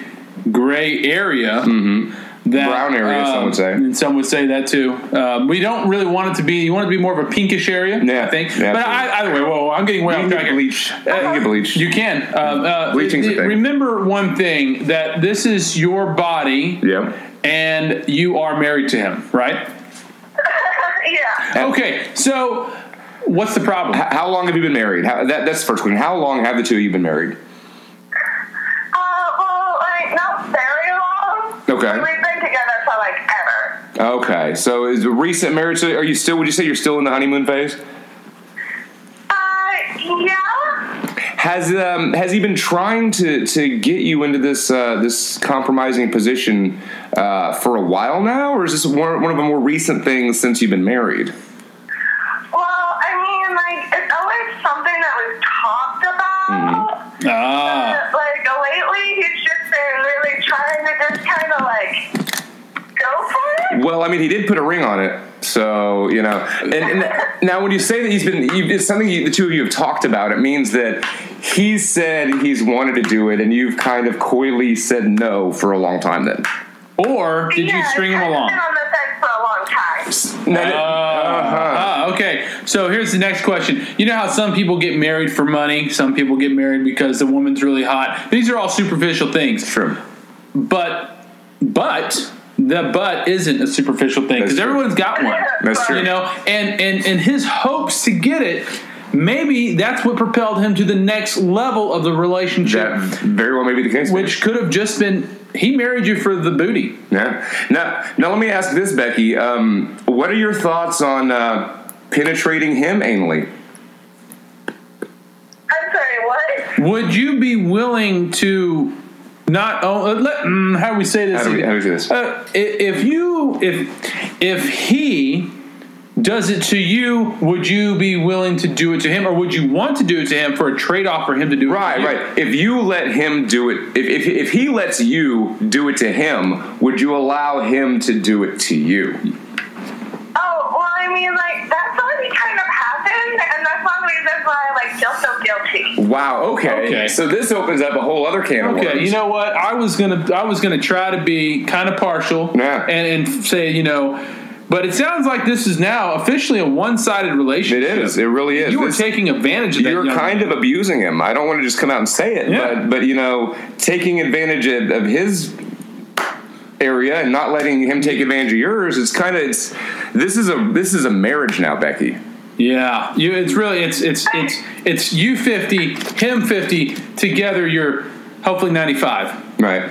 gray area, that,
Mm-hmm. Brown area, some
um,
would say.
and some would say that too. Um, we don't really want it to be. You want it to be more of a pinkish area,
Yeah,
I think.
yeah,
but
absolutely.
I, either way, whoa, I'm getting way
You can
off track.
get
here.
bleached. You can get bleached.
You can. Um, uh,
Bleaching's a thing.
Remember one thing that this is your body,
Yeah.
and you are married to him, right?
yeah.
Okay, so what's the problem?
H- How long have you been married? How, that, that's the first question. How long have the two of you been married?
Uh, well, like, not very long.
Okay.
We've been together for like ever.
Okay, so is a recent marriage? So are you still? Would you say you're still in the honeymoon phase?
Uh, yeah.
Has um, has he been trying to to get you into this uh, this compromising position uh, for a while now, or is this one, one of the more recent things since you've been married?
Well, I mean, like, it's always something that was talked about.
Ah,
But, like, lately, he's just been really trying to just kind of, like, go for it.
Well, I mean, he did put a ring on it, so you know. And, and now, when you say that he's been, you, it's something you, the two of you have talked about. It means that he said he's wanted to do it, and you've kind of coyly said no for a long time. Then.
or did
yeah,
you string
it's
him
kind of
along?
been on the fence for a long time.
Now
Uh,
that- Uh-huh.
ah, okay. So here's the next question. You know how some people get married for money, some people get married because the woman's really hot. These are all superficial things.
True.
But, but the but isn't a superficial thing
That's
because
true.
everyone's got one.
That's true.
You know, and and and his hopes to get it. Maybe that's what propelled him to the next level of the relationship,
That very well may be the case.
which could have just been he married you for the booty.
Yeah. Now, now let me ask this, Becky. Um, what are your thoughts on uh, penetrating him anally?
I'm sorry, what?
Would you be willing to not oh, uh, let, mm, how do we say this?
How do we- how do we do this?
Uh, i- if you if if he does it to you, would you be willing to do it to him, or would you want to do it to him for a trade off for him to do? it
Right,
to you?
right. If you let him do it, if, if, if he lets you do it to him, would you allow him to do it to you?
Oh, well, I mean, like, that's already kind of happened, and that's one reason why I, like, feel so guilty.
Wow. Okay.
Okay.
So this opens up a whole other can of
Okay,
worms.
you know what? I was gonna I was gonna try to be kind of partial
Yeah.
and and say you know, but it sounds like this is now officially a one sided
it
relationship.
is. It really is.
You were
This-
taking advantage of that.
you're
young
kind of abusing him. I don't want to just come out and say it,
Yeah.
but but you know, taking advantage of, of his area and not letting him take advantage of yours. It's kind of it's this is a this is a marriage now, Becky.
Yeah, you, it's really it's it's it's it's you fifty, him fifty. Together, you're hopefully ninety five.
Right.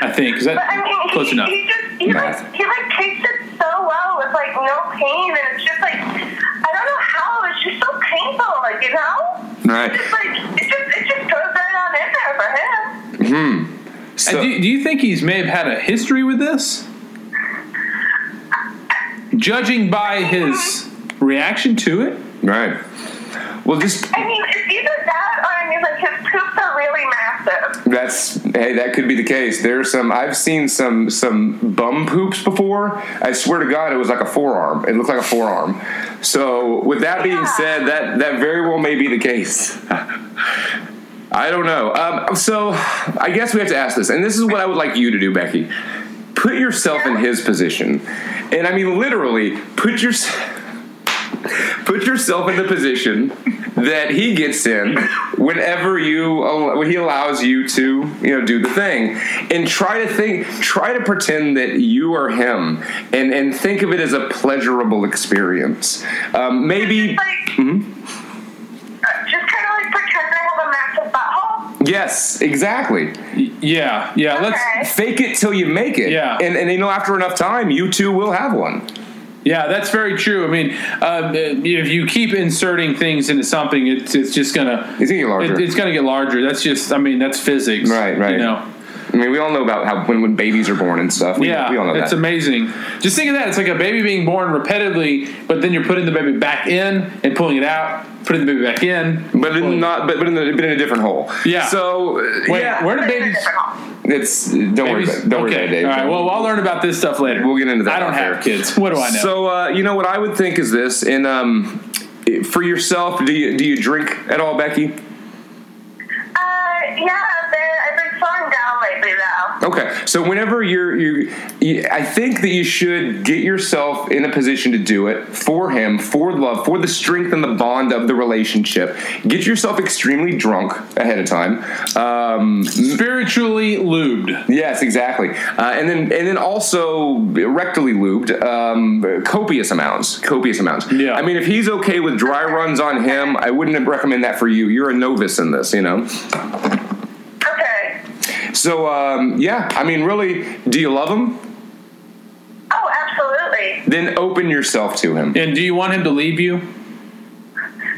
I think is that
But, I mean,
close
he,
enough.
he just, he,
Math.
like, he, like, takes it so well with, like, no pain, and it's just, like, I don't know how, it's just so painful, like, you know?
Right.
It's like it just it just goes right on in there for him.
So,
And do, do you think he's may have had a history with this? Judging by his reaction to it,
right. Well, just
I mean, it's either that or I mean, like his poops are really massive.
that's hey, that could be the case. There's some I've seen some some bum poops before. I swear to God, it was like a forearm. It looked like a forearm. So with that being
Yeah.
said, that that very well may be the case. I don't know. Um, so I guess we have to ask this, and this is what I would like you to do, Becky. Put yourself in his position, and I mean literally, put yourself.
put yourself in the position that he gets in whenever you when he allows you to you know do the thing and try to think try to pretend that you are him and and think of it as a pleasurable experience um, maybe
Mm-hmm.
uh, Just kind of like pretend I have a massive butthole.
yes exactly
Yeah, yeah. Let's.
Okay.
fake it till you make it
Yeah.
and and you know after enough time you too will have one
Yeah, that's very true. I mean, um, if you keep inserting things into something, it's it's just gonna
It's gonna get larger.
it- it's gonna get larger. That's just. I mean, that's physics.
Right, right.
You know.
I mean, we all know about how when, when babies are born and stuff. We,
yeah,
we all know
it's
that.
amazing. Just think of that. It's like a baby being born repetitively, but then you're putting the baby back in and pulling it out, putting the baby back in.
but in
pulling-
not, but, but in, the, but in a different hole.
Yeah.
So uh,
Wait,
yeah,
where do babies?
it's don't worry about
babies
it. Don't worry
okay.
about it, Dave.
All right. Well, I'll learn about this stuff later.
We'll get into that
I don't
off
have
air.
kids. What do I know?
So uh, you know what I would think is this, and um, for yourself, do you do you drink at all, Becky?
Uh, yeah, I've been, I've been slowing down lately though.
Okay, so whenever you're, you, you, I think that you should get yourself in a position to do it for him, for love, for the strength and the bond of the relationship. Get yourself extremely drunk ahead of time. Um,
spiritually lubed.
yes, exactly, uh, and then and then also rectally lubed, um, copious amounts, copious amounts.
Yeah.
I mean, if he's okay with dry runs on him, I wouldn't recommend that for you. You're a novice in this, you know.
Okay.
So um, yeah, I mean, really, do you love him?
Oh, absolutely.
Then open yourself to him.
And do you want him to leave you?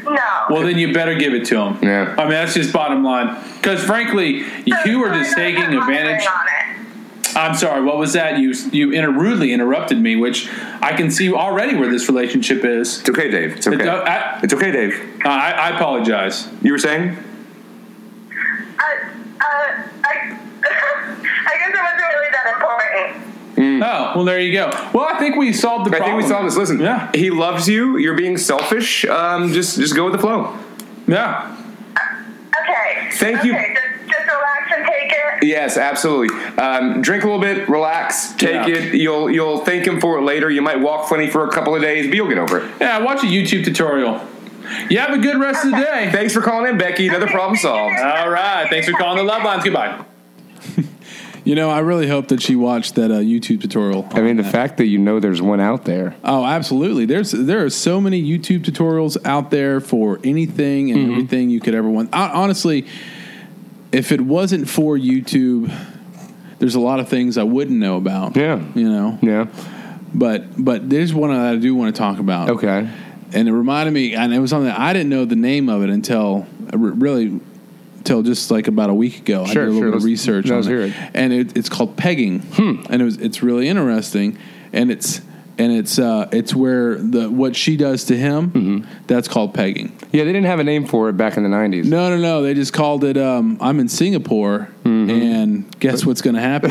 No.
Well, then you better give it to him.
Yeah.
I mean, that's just bottom line. Because frankly, you are just
Sorry,
taking
I'm not
advantage.
On it.
I'm sorry. What was that? You you inter- rudely interrupted me, which I can see already where this relationship is.
It's okay, Dave. It's okay.
It's, uh, I,
It's okay, Dave.
I, I apologize.
You were saying?
Uh, uh, I, I guess it wasn't really that important.
Oh, well, there you go. Well, I think we solved the
I
problem.
think we saw this. Listen,
Yeah.
he loves you. You're being selfish. Um, just, just go with the flow.
Yeah.
Okay.
Thank
okay,
you.
Just, just relax and take it.
Yes, absolutely. Um, drink a little bit, relax, take
Yeah.
it. You'll, you'll thank him for it later. You might walk funny for a couple of days, but you'll get over it.
Yeah. Watch a YouTube tutorial. You have a good rest of the day.
Thanks for calling in, Becky. Another problem solved.
All right. Thanks for calling the Love Lines. Goodbye.
You know, I really hope that she watched that uh, YouTube tutorial.
I mean, the fact that you know there's one out there.
Oh, absolutely. There's there are so many YouTube tutorials out there for anything
Mm-hmm.
and everything you could ever want. I, honestly, if it wasn't for YouTube, there's a lot of things I wouldn't know about.
Yeah.
You know.
Yeah.
But but there's one I do want to talk about.
Okay.
And it reminded me and it was something I didn't know the name of it until uh, re- really until just like about a week ago. I did
Sure,
a little
sure.
bit of
Let's-
research
let's
on
hear it. Hmm.
and it, it's called pegging. And it was it's really interesting, and it's and it's uh, it's where the what she does to him
Mm-hmm.
that's called pegging.
Yeah, they didn't have a name for it back in the 90s.
No, no, no. They just called it. Um, I'm in Singapore,
Mm-hmm.
and guess what's going to happen?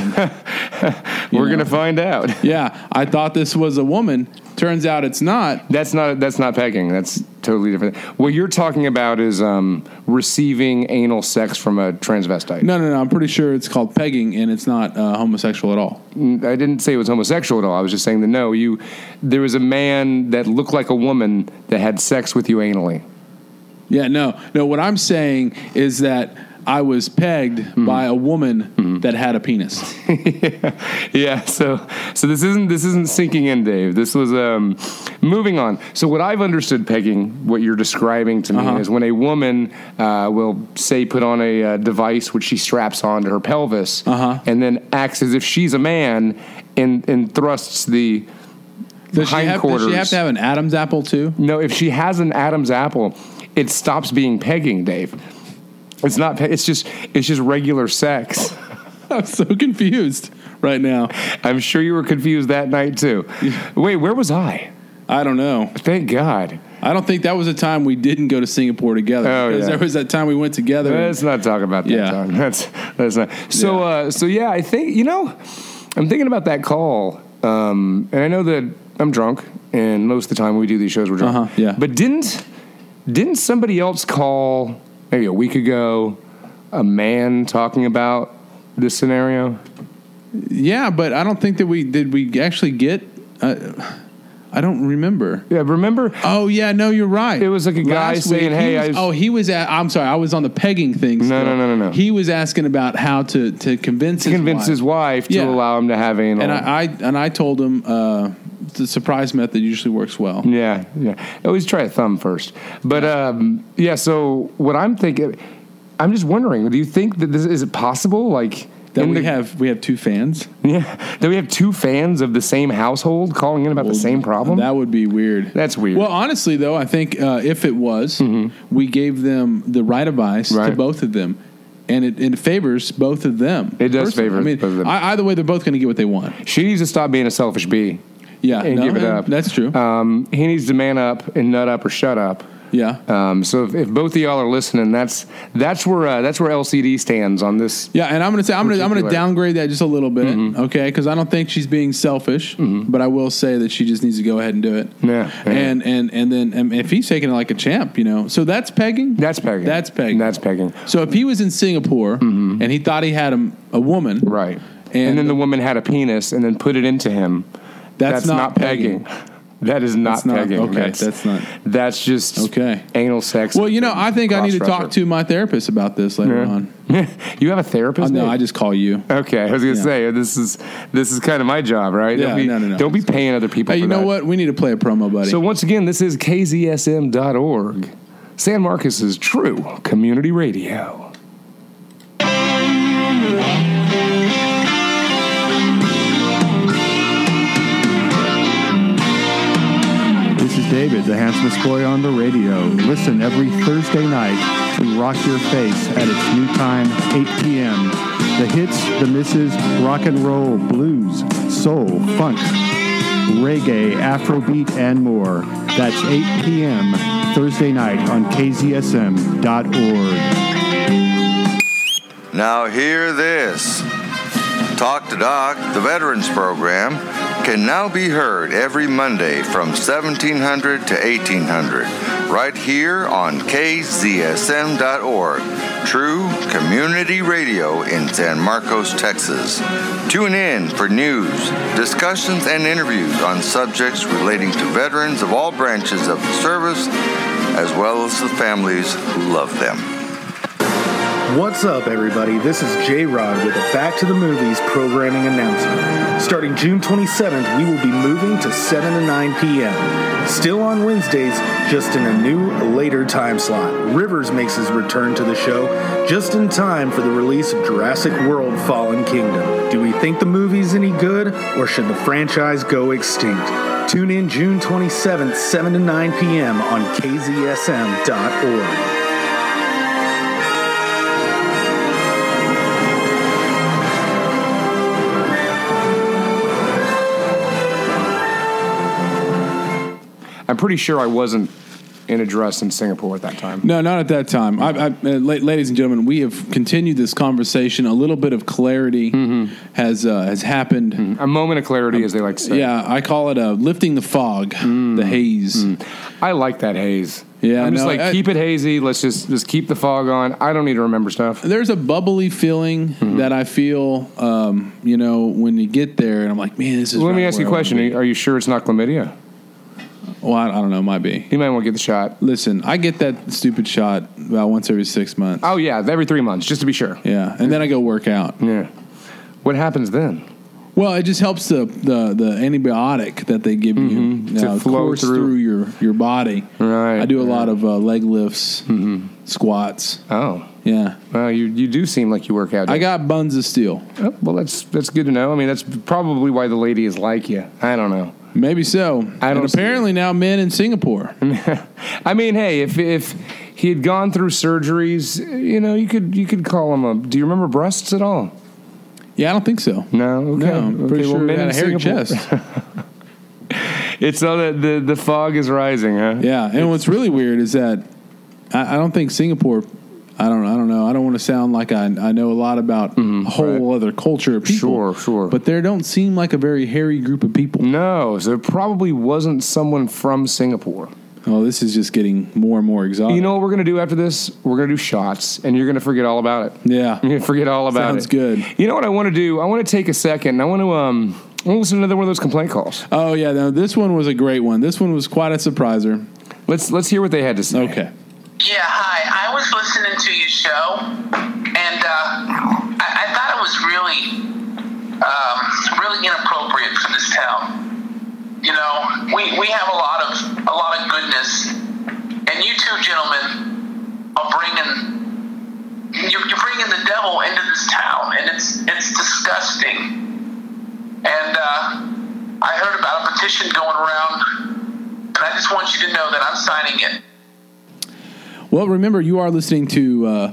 We're
know.
going to find out.
yeah, I thought this was a woman. Turns out it's not.
That's not that's not pegging. That's totally different. What you're talking about is um, receiving anal sex from a transvestite.
No, no, no. I'm pretty sure it's called pegging, and it's not uh, homosexual at all.
I didn't say it was homosexual at all. I was just saying that no, you there was a man that looked like a woman that had sex with you anally.
Yeah, no, no. What I'm saying is that I was pegged
Hmm.
by a woman that had a penis.
yeah. So so this isn't this isn't sinking in, Dave. This was um, moving on. So what I've understood, pegging, what you're describing to me
Uh-huh.
is when a woman uh, will say put on a uh, device which she straps onto her pelvis,
Uh-huh.
and then acts as if she's a man and and thrusts the
Does she, have, does she
hindquarters.
have to have an Adam's apple too?
No, if she has an Adam's apple, it stops being pegging, Dave. It's not. Pe- it's just. It's just regular sex.
I'm so confused right now.
I'm sure you were confused that night too. Wait, where was I?
I don't know.
Thank God.
I don't think that was a time we didn't go to Singapore together.
Oh,
because
yeah.
There was that time we went together.
Let's not talk about that
Yeah.
time. That's that's not. So
Yeah.
uh, so yeah, I think you know, I'm thinking about that call, um, and I know that I'm drunk, and most of the time when we do these shows we're drunk.
Uh-huh, yeah.
But didn't didn't somebody else call maybe a week ago a man talking about this scenario?
yeah, but I don't think that we did. We actually get. Uh, I don't remember.
Yeah, remember?
Oh yeah, no, you're right.
It was like a guy saying,
he
"Hey,
was-
I was-
oh, he was. At, I'm sorry, I was on the pegging thing.
No,
still.
no, no, no, no.
He was asking about how to to convince
To
his
convince
wife.
his wife to
Yeah.
allow him to have anal.
And I, I and I told him uh, the surprise method usually works well.
Yeah, yeah. Always try a thumb first. But um, yeah, so what I'm thinking, I'm just wondering, do you think that this is it possible? Like
That
in
we
the-
have we have two fans.
yeah, that we have two fans of the same household calling in about the same problem.
That would be weird.
That's weird.
Well, honestly, though, I think uh, if it was, we gave them the right advice to
Mm-hmm. Right.
both of them, and it, it favors both of them.
It does
personally.
favor
I mean,
both of them.
I, either way, they're both going to get what they want.
she needs to stop being a selfish bee
Yeah,
and
no,
give it
eh,
up.
That's true.
Um, he needs to man up and nut up or shut up.
yeah,
Um, so if, if both of y'all are listening, that's that's where uh, that's where LCD stands on this.
yeah. And I'm going to say I'm going to I'm going to
particular. Mm-hmm.
downgrade that just a little bit, okay? Because I don't think she's being selfish, but I will say that she just needs to go ahead and do it.
Yeah, yeah.
And and and then um, if he's taking it like a champ, you know, so that's pegging.
That's pegging.
That's pegging.
That's pegging.
so if he was in Singapore and he thought he had a, a woman,
Mm-hmm. Right. And,
And-
then the woman had a penis and then put it into him.
That's not
That is not
That's not-
pegging.
okay, that's not-
That's just
Okay.
Anal sex.
Well, you know, I think I need to talk to my therapist about this later on.
you have a therapist.
Oh, no,
Nate?
I just call you.
Okay, I was gonna
Yeah.
say this is this is kind of my job, right?
Yeah,
don't be,
no, no, no.
Don't be paying other people.
Hey, you
for
know
that.
what? We need to play a promo, buddy.
So once again, this is kzsm.org. San Marcos is true community radio.
This is David, the handsomest boy on the radio. Listen every Thursday night to Rock Your Face at its new time, 8 p.m. The hits, the misses, rock and roll, blues, soul, funk, reggae, afrobeat, and more. That's 8 p.m. Thursday night on KZSM.org.
Now, hear this. Talk to Doc, the Veterans Program, can now be heard every Monday from 1700 to 1800, right here on KZSM.org, true community radio in San Marcos, Texas. Tune in for news, discussions, and interviews on subjects relating to veterans of all branches of the service, as well as the families who love them.
What's up, everybody? This is J Rod with a Back to the Movies programming announcement. Starting June 27th, we will be moving to 7 to 9 p.m. Still on Wednesdays, just in a new, later time slot. Rivers makes his return to the show just in time for the release of Jurassic World Fallen Kingdom. Do we think the movie's any good, or should the franchise go extinct? Tune in June 27th, 7 to 9 p.m. on kzsm.org.
I'm pretty sure I wasn't in a dress in Singapore at that time.
no, not at that time. I, I, uh, la- ladies and gentlemen, we have continued this conversation. A little bit of clarity
Mm-hmm.
has uh, has happened.
A moment of clarity, as they like to say.
Yeah, I call it uh, lifting the fog,
Mm.
the haze.
I like that haze.
Yeah,
I'm just
no,
like
I-
keep it hazy. Let's just just keep the fog on. I don't need to remember stuff.
There's a bubbly feeling
Mm-hmm.
that I feel, um, you know, when you get there, and I'm like, man, this is.
Let me
right
ask you a
where I wanna
question. Are
be.
you, are you sure it's not chlamydia?
Well, I, I don't know, might be.
You might want to get the shot.
Listen, I get that stupid shot about once every six months.
Oh yeah, every three months, just to be sure.
Yeah, and then I go work out.
Yeah. What happens then?
Well, it just helps the the, the antibiotic that they give you
Mm-hmm.
uh,
To flow
course
through.
your your body.
Right,
I do a
right. Mm-hmm.
lot of uh, leg lifts, squats.
Oh,
Yeah.
well, you you do seem like you work out.
I got buns of steel.
Oh, well, that's that's good to know. I mean, that's probably why the lady is like you. I don't know.
Maybe so.
I
and
don't see Mm.
apparently now men in Singapore.
I mean, hey, if if he had gone through surgeries, you know, you could you could call him a. Do you remember breasts at all?
Yeah, I don't think so.
No, okay.
No, I'm pretty
Okay, well,
sure
men
they had
in
a hairy
Singapore-
chest.
It's so that the the fog is rising, huh?
yeah, and what's really weird is that I, I don't think Singapore. I don't. I don't know. I don't want to sound like I, I know a lot about a whole other culture of people.
Mm-hmm, Sure, sure.
But there don't seem like a very hairy group of people.
No, so it probably wasn't someone from Singapore.
Oh, this is just getting more and more exotic.
You know what we're gonna do after this? We're gonna do shots, and you're gonna forget all about it.
yeah.
You're gonna forget all Mm-hmm. about
Sounds
it.
good.
You know what I want to do? I want to take a second. and I want to um, We'll listen to another one of those complaint calls.
Oh yeah, no, this one was a great one. This one was quite a surpriser.
Let's let's hear what they had to say.
Okay.
Yeah, hi. I was listening to your show, and uh, I, I thought it was really, um, really inappropriate for this town. You know, we, we have a lot of a lot of goodness, and you two gentlemen are bringing you're, you're bringing the devil into this town, and it's it's disgusting. And uh, I heard about a petition going around, and I just want you to know that I'm signing it.
Well, remember you are listening to uh,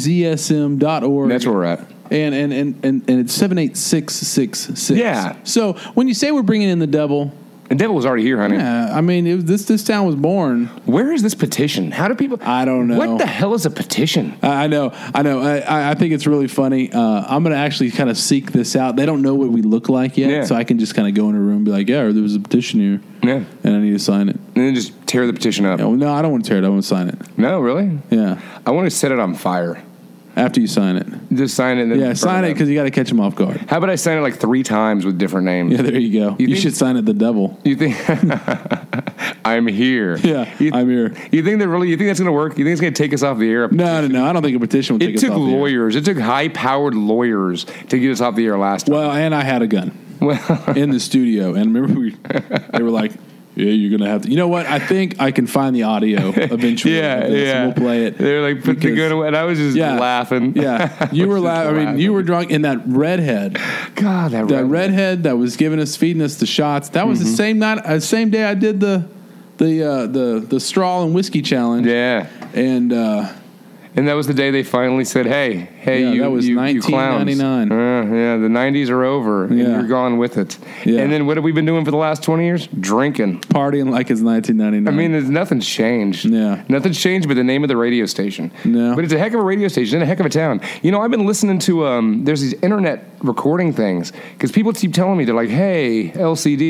kzsm.org.
That's where we're at.
And and and and, and it's seven eight six six six.
Yeah.
So when you say we're bringing in the devil,
The devil was already here, honey.
yeah, I mean it, was- this this town was born.
Where is this petition? How do people?
I don't know.
What the hell is a petition?
I I know, I know. I- I, I think it's really funny. Uh, I'm going to actually kind of seek this out. They don't know what we look like yet,
Yeah.
so I can just kind of go in a room and be like, "Yeah, there was a petition here,
Yeah, and
and I need to sign it."
then just tear the petition up.
Yeah, well, no, I don't want to tear it. I want to sign it.
No, really?
Yeah,
I want to set it on fire.
after you sign it.
Just sign it. And then
Yeah,
burn
sign it
up.
because you got to catch them off guard.
How about I sign it like three times with different names?
Yeah, there you go.
You
You,
think-
should sign it the devil.
You think I'm here?
Yeah,
You,
I'm here.
you think that really? You think that's gonna work? You think it's gonna take us off the air?
No, no, no. I don't think a petition would take
It
us
took
off the air.
lawyers. It took high-powered lawyers to get us off the air last time.
Well, and I had a gun
Well,
in the studio, and remember we, they were like. Yeah, you're gonna have to. You know what? I think I can find the audio eventually.
yeah,
of this,
yeah.
and We'll play it.
They're like, put the
because-
gun away, and I was just
Yeah.
laughing.
Yeah,
was
you were
just
laughing. I mean, you were drunk, and that redhead,
God, that,
that
red-
redhead that was giving us, feeding us the shots. That was
Mm-hmm.
the same night, uh, same day I did the, the uh, the the straw and whiskey challenge.
Yeah,
and uh,
and that was the day they finally said, "Hey, hey,
Yeah,
you,
that was
you, you clowns."
1999.
Uh, yeah, the '90s are over, and
Yeah.
you're gone with it.
Yeah.
And then what have we been doing for the last 20 years? Drinking.
partying like it's 1999.
I mean, there's nothing's changed.
Yeah.
nothing's changed, but the name of the radio station.
No.
but it's a heck of a radio station and a heck of a town. You know, I've been listening to um. There's these internet recording things because people keep telling me they're like, "Hey, LCD,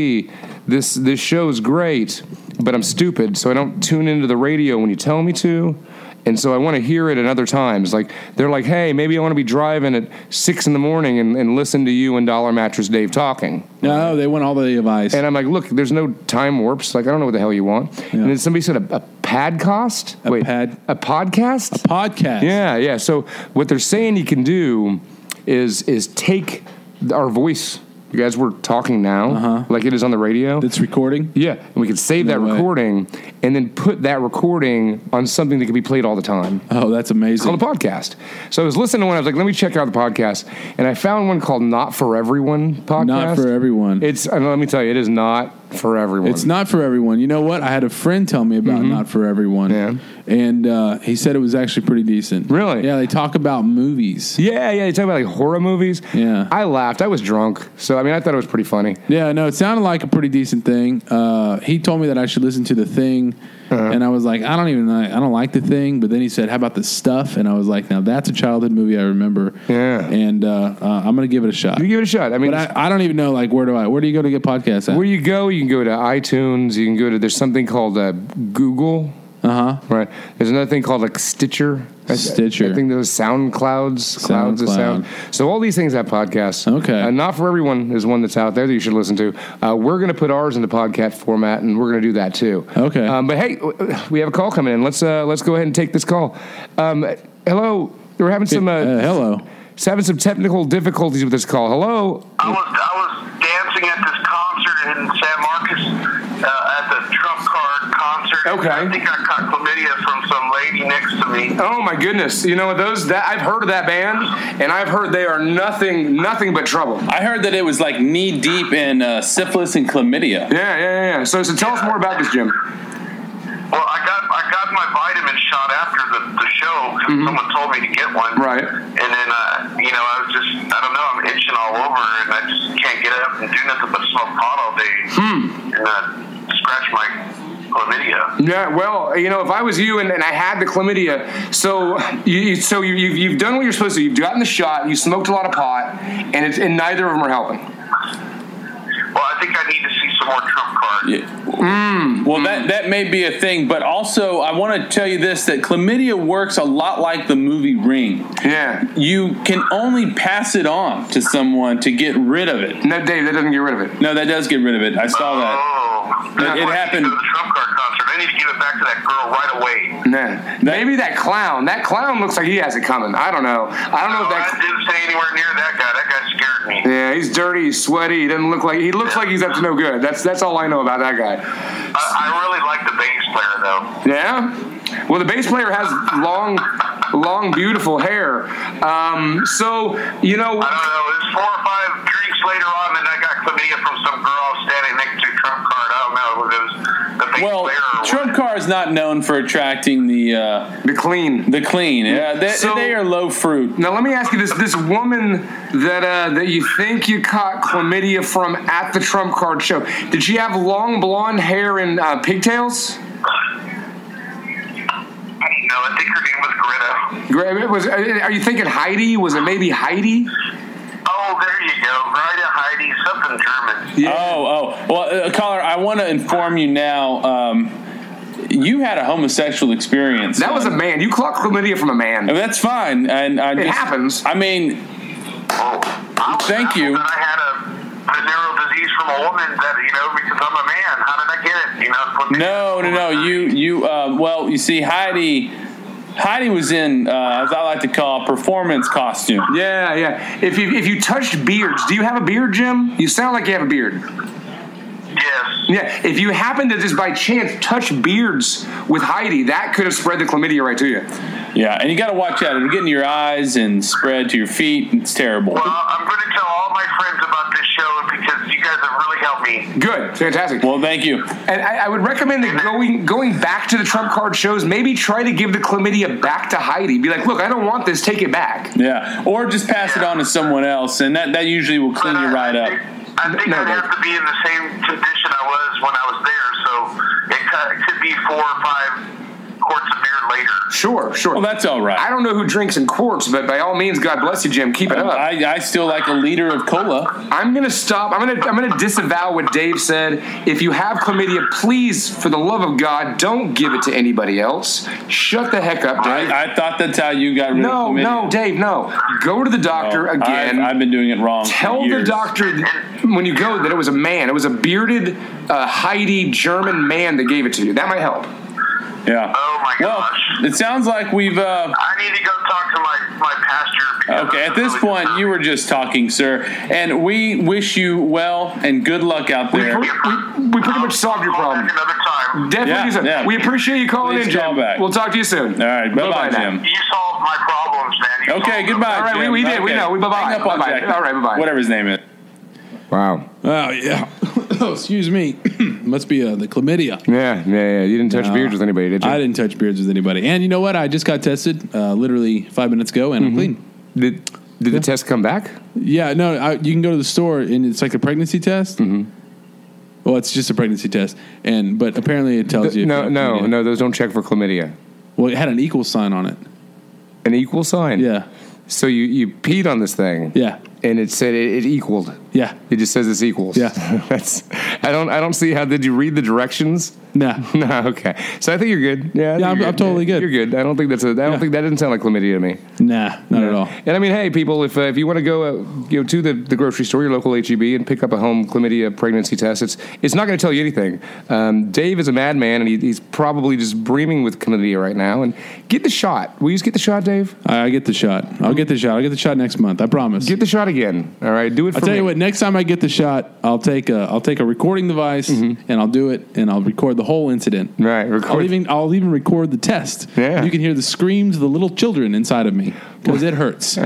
this this show's great, but I'm stupid, so I don't tune into the radio when you tell me to." And so I want to hear it at other times. Like they're like, "Hey, maybe I want to be driving at six in the morning and, and listen to you and Dollar Mattress Dave talking."
no, they went all the advice.
And I'm like, look, there's no time warps. Like, I don't know what the hell you want. And then somebody said a, a podcast.
A pad-
a podcast.
podcast.
yeah, yeah. So what they're saying you can do is is take our voice. You guys were talking now, like it is on the radio.
It's recording.
yeah, and we could save that
Uh-huh. No way.
recording and then put that recording on something that could be played all the time
Oh, that's amazing.
called a podcast. So I was listening to one. I was like, let me check out the podcast, and I found one called "Not for Everyone" podcast.
Not for everyone.
It's and let me tell you, it is not for everyone.
It's not for everyone. You know what? I had a friend tell me about not for everyone,
Mm-hmm. Yeah.
and uh, he said it was actually pretty decent.
Really?
Yeah, they talk about movies.
Yeah, yeah. You talk about like horror movies.
Yeah.
I laughed. I was drunk, so I mean, I thought it was pretty funny.
Yeah, no, it sounded like a pretty decent thing. Uh, he told me that I should listen to the thing,
Uh-huh.
and I was like, I don't even, like, I don't like the thing. But then he said, How about the stuff? And I was like, Now that's a childhood movie I remember.
Yeah.
and uh, uh, I'm gonna give it a shot.
You give it a shot. I mean,
but I, I don't even know like where do I where do you go to get podcasts at?
where you go, you can go to iTunes. You can go to there's something called uh, Google.
Uh huh.
Right. There's another thing called like Stitcher. I-
Stitcher.
I think those SoundClouds. Clouds of sound. So all these things have podcasts.
Okay.
Uh, Not for everyone is one that's out there that you should listen to. Uh, we're going to put ours into podcast format, and we're going to do that too.
Okay.
Um, but hey, w- we have a call coming in. Let's uh, let's go ahead and take this call. Um, hello. We're having some uh,
Uh, hello.
It's having some technical difficulties with this call. Hello.
I was I was dancing at this concert in San Marcos uh, at the Trump Card concert.
Okay.
I think I caught chlamydia from some lady next to me.
Oh my goodness! You know those that I've heard of that band, and I've heard they are nothing, nothing but trouble.
I heard that it was like knee deep in uh, syphilis and chlamydia.
Yeah, yeah, yeah. yeah. So, so tell us more about this, Jim.
Well, I got I got my vitamin shot after the, the show 'cause someone told me to get one.
Right.
And then uh, you know I was just I don't know I'm itching all over and I just can't get up and do nothing but smoke pot all day and uh, scratch my chlamydia.
Yeah, well, you know, if I was you and, and I had the chlamydia, so you, you so you, you've you've done what you're supposed to. You've gotten the shot. You smoked a lot of pot, and it's and neither of them are helping.
Well, I think I need to see some more trump cards.
Mm.
Well, that that may be a thing, but also I want to tell you this: that chlamydia works a lot like the movie Ring.
Yeah.
You can only pass it on to someone to get rid of it.
No, Dave, that doesn't get rid of it.
No, that does get rid of it. I saw that.
Oh,
It- it
why I need to
happened-
go to The trump card concert. I need to give it back to that girl right away.
Nah. Maybe that clown. That clown looks like he has it coming. I don't know. I don't know
No,
if
I
that.
didn't stay anywhere near that guy. That guy scared me.
Yeah, he's dirty, he's sweaty. He doesn't look like he looks like he's up to no good. That's that's all I know about that guy.
I, I really like the bass player though.
Yeah. Well, the bass player has long, long, beautiful hair. Um, so you know,
I don't know. It was four or five drinks later on, and I got chlamydia from some girl standing next to Trump card. I don't know if it was the bass
Well,
player or
Trump Car is not known for attracting the uh,
the clean.
the clean. Yeah, they,
So-
they are low fruit.
Now let me ask you this: This woman that uh, that you think you caught chlamydia from at the Trump Card show, did she have long blonde hair and uh, pigtails?
what. No, I think her name was Greta.
Gra- Was uh, are you thinking Heidi? Was it maybe Heidi?
Oh, there you go. Greta Heidi, something German.
Oh, oh. Well, uh, caller, I want to inform you now. Um, you had a homosexual experience.
That was a man. You caught chlamydia from a
I
man.
mean, that's fine. And I
It
just,
happens.
I mean,
Oh, I was
Thank you.
baffled That I had a venereal disease from a woman that you know because I'm a man. How did I get it? You know. it's what they-
Oh, no, no, no. You, you. Uh, well, you see, Heidi, Heidi was in, uh, as I like to call, performance costume.
Yeah, yeah. If you if you touched beards, do you have a beard, Jim? You sound like you have a beard.
Yes.
Yeah. If you happen to just by chance touch beards with Heidi, that could have spread the chlamydia right to you.
Yeah, and you got to watch out. It'll get in your eyes and spread to your feet. It's terrible.
Well, I'm going to tell all my friends about this show because you guys have really helped me.
Good, fantastic.
Well, thank you.
And I, I would recommend that going going back to the trump card shows, maybe try to give the chlamydia back to Heidi. Be like, look, I don't want this. Take it back.
Yeah, or just pass it on to someone else, and that that usually will clean you
I-
right
I
up.
think, I think
No,
I'd
no.
have to be in the same condition I was when I was there, so it could, it could be four or five quarts of beer later.
Sure, sure.
Well, that's all
I
right.
don't know who drinks in quarts, but by all means, God bless you, Jim. Keep it up.
I, I still like a liter of cola.
I'm gonna stop. I'm gonna I'm gonna disavow what Dave said. If you have chlamydia, please, for the love of God, don't give it to anybody else. Shut the heck up, Dave.
I, I thought that's how you got rid
no,
of chlamydia.
no, Dave, no. Go to the doctor
I've-
again.
I've, been doing it wrong. for
Tell the
years.
doctor th- when you go that it was a man. It was a bearded, uh, Heidi German man that gave it to you. That might help.
Yeah.
Oh, my
Well,
gosh.
it sounds like we've. Uh,
I need to go talk to my, my pastor. because
okay,
I'm
at this
really
point,
disturbed.
you were just talking, sir, and we wish you well and good luck out
We,
there.
we, we- we pretty much solved your
Call
problem.
back another time.
Definitely.
Yeah,
so.
yeah.
We appreciate you calling
Please
in, Jim.
call back.
We'll talk to you soon.
All right, bye bye, Jim.
You solved my problems, man. You
Okay,
solved them.
goodbye.
All right, we-
Jim.
we did. We
Okay.
know. We- bye-bye.
Hang up on
Bye-bye.
Jack.
All right, bye-bye.
Whatever his name is.
Wow.
Oh yeah. oh, excuse me. Must be uh, the chlamydia.
Yeah, yeah, yeah. You didn't touch
No.
beards with anybody, did you?
I didn't touch beards with anybody. And you know what? I just got tested uh, literally five minutes ago, and I'm clean.
Did, did the test come back?
Mm-hmm. Yeah, no, I, you can go to the store and it's like a pregnancy test. Mm-hmm. Well, it's just a pregnancy test, and but apparently it tells you. if you
no,
have
no,
chlamydia.
no. Those don't check for chlamydia.
Well, it had an equal sign on it.
An equal sign.
Yeah,
So you, you peed on this thing.
yeah,
And it said it, it equaled.
yeah.
It just says it's equals.
Yeah.
That's. I don't. I don't see how. Did you read the directions?
Nah.
No. Okay. So I think you're good. Yeah. I think
I'm-
you're
I'm totally good.
You're good. I don't think that's a. I don't
Yeah.
think that doesn't sound like chlamydia to me.
Nah, not at all.
And I mean, hey, people, if uh, if you want to go, uh, you know, to the, the grocery store, your local HEB, and pick up a home chlamydia pregnancy test, it's it's not going to tell you anything. Um, Dave is a madman, and he, he's probably just breaming with chlamydia right now. And get the shot. Will you just get the shot, Dave?
I, I get the shot. I'll get the shot. I'll get the shot next month. I promise.
Get the shot again. All right. Do it.
I'll
for
tell
me.
you what. Next time I get the shot, I'll take a I'll take a recording device and I'll do it and I'll record the whole incident.
Right.
I'll
Record.
even I'll even record the test.
Yeah.
You can hear the screams of the little children inside of me because it hurts.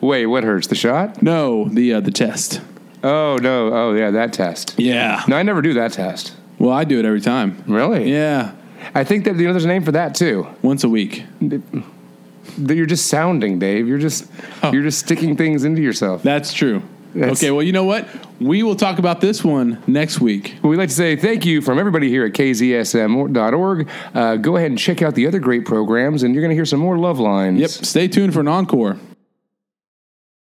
Wait. What hurts? The shot?
No, the uh, the test.
Oh no. Oh yeah. That test.
Yeah.
No, I never do that test.
Well, I do it every time.
Really?
Yeah,
I think that you know there's a name for that too.
once a week.
That you're just sounding, Dave. You're just
Oh.
you're just sticking things into yourself.
That's true.
That's-
okay, well, you know what? We will talk about this one next week.
We'd like to say thank you from everybody here at kzsm.org. Uh, go ahead and check out the other great programs, and you're going to hear some more love lines.
Yep. Stay tuned for an encore.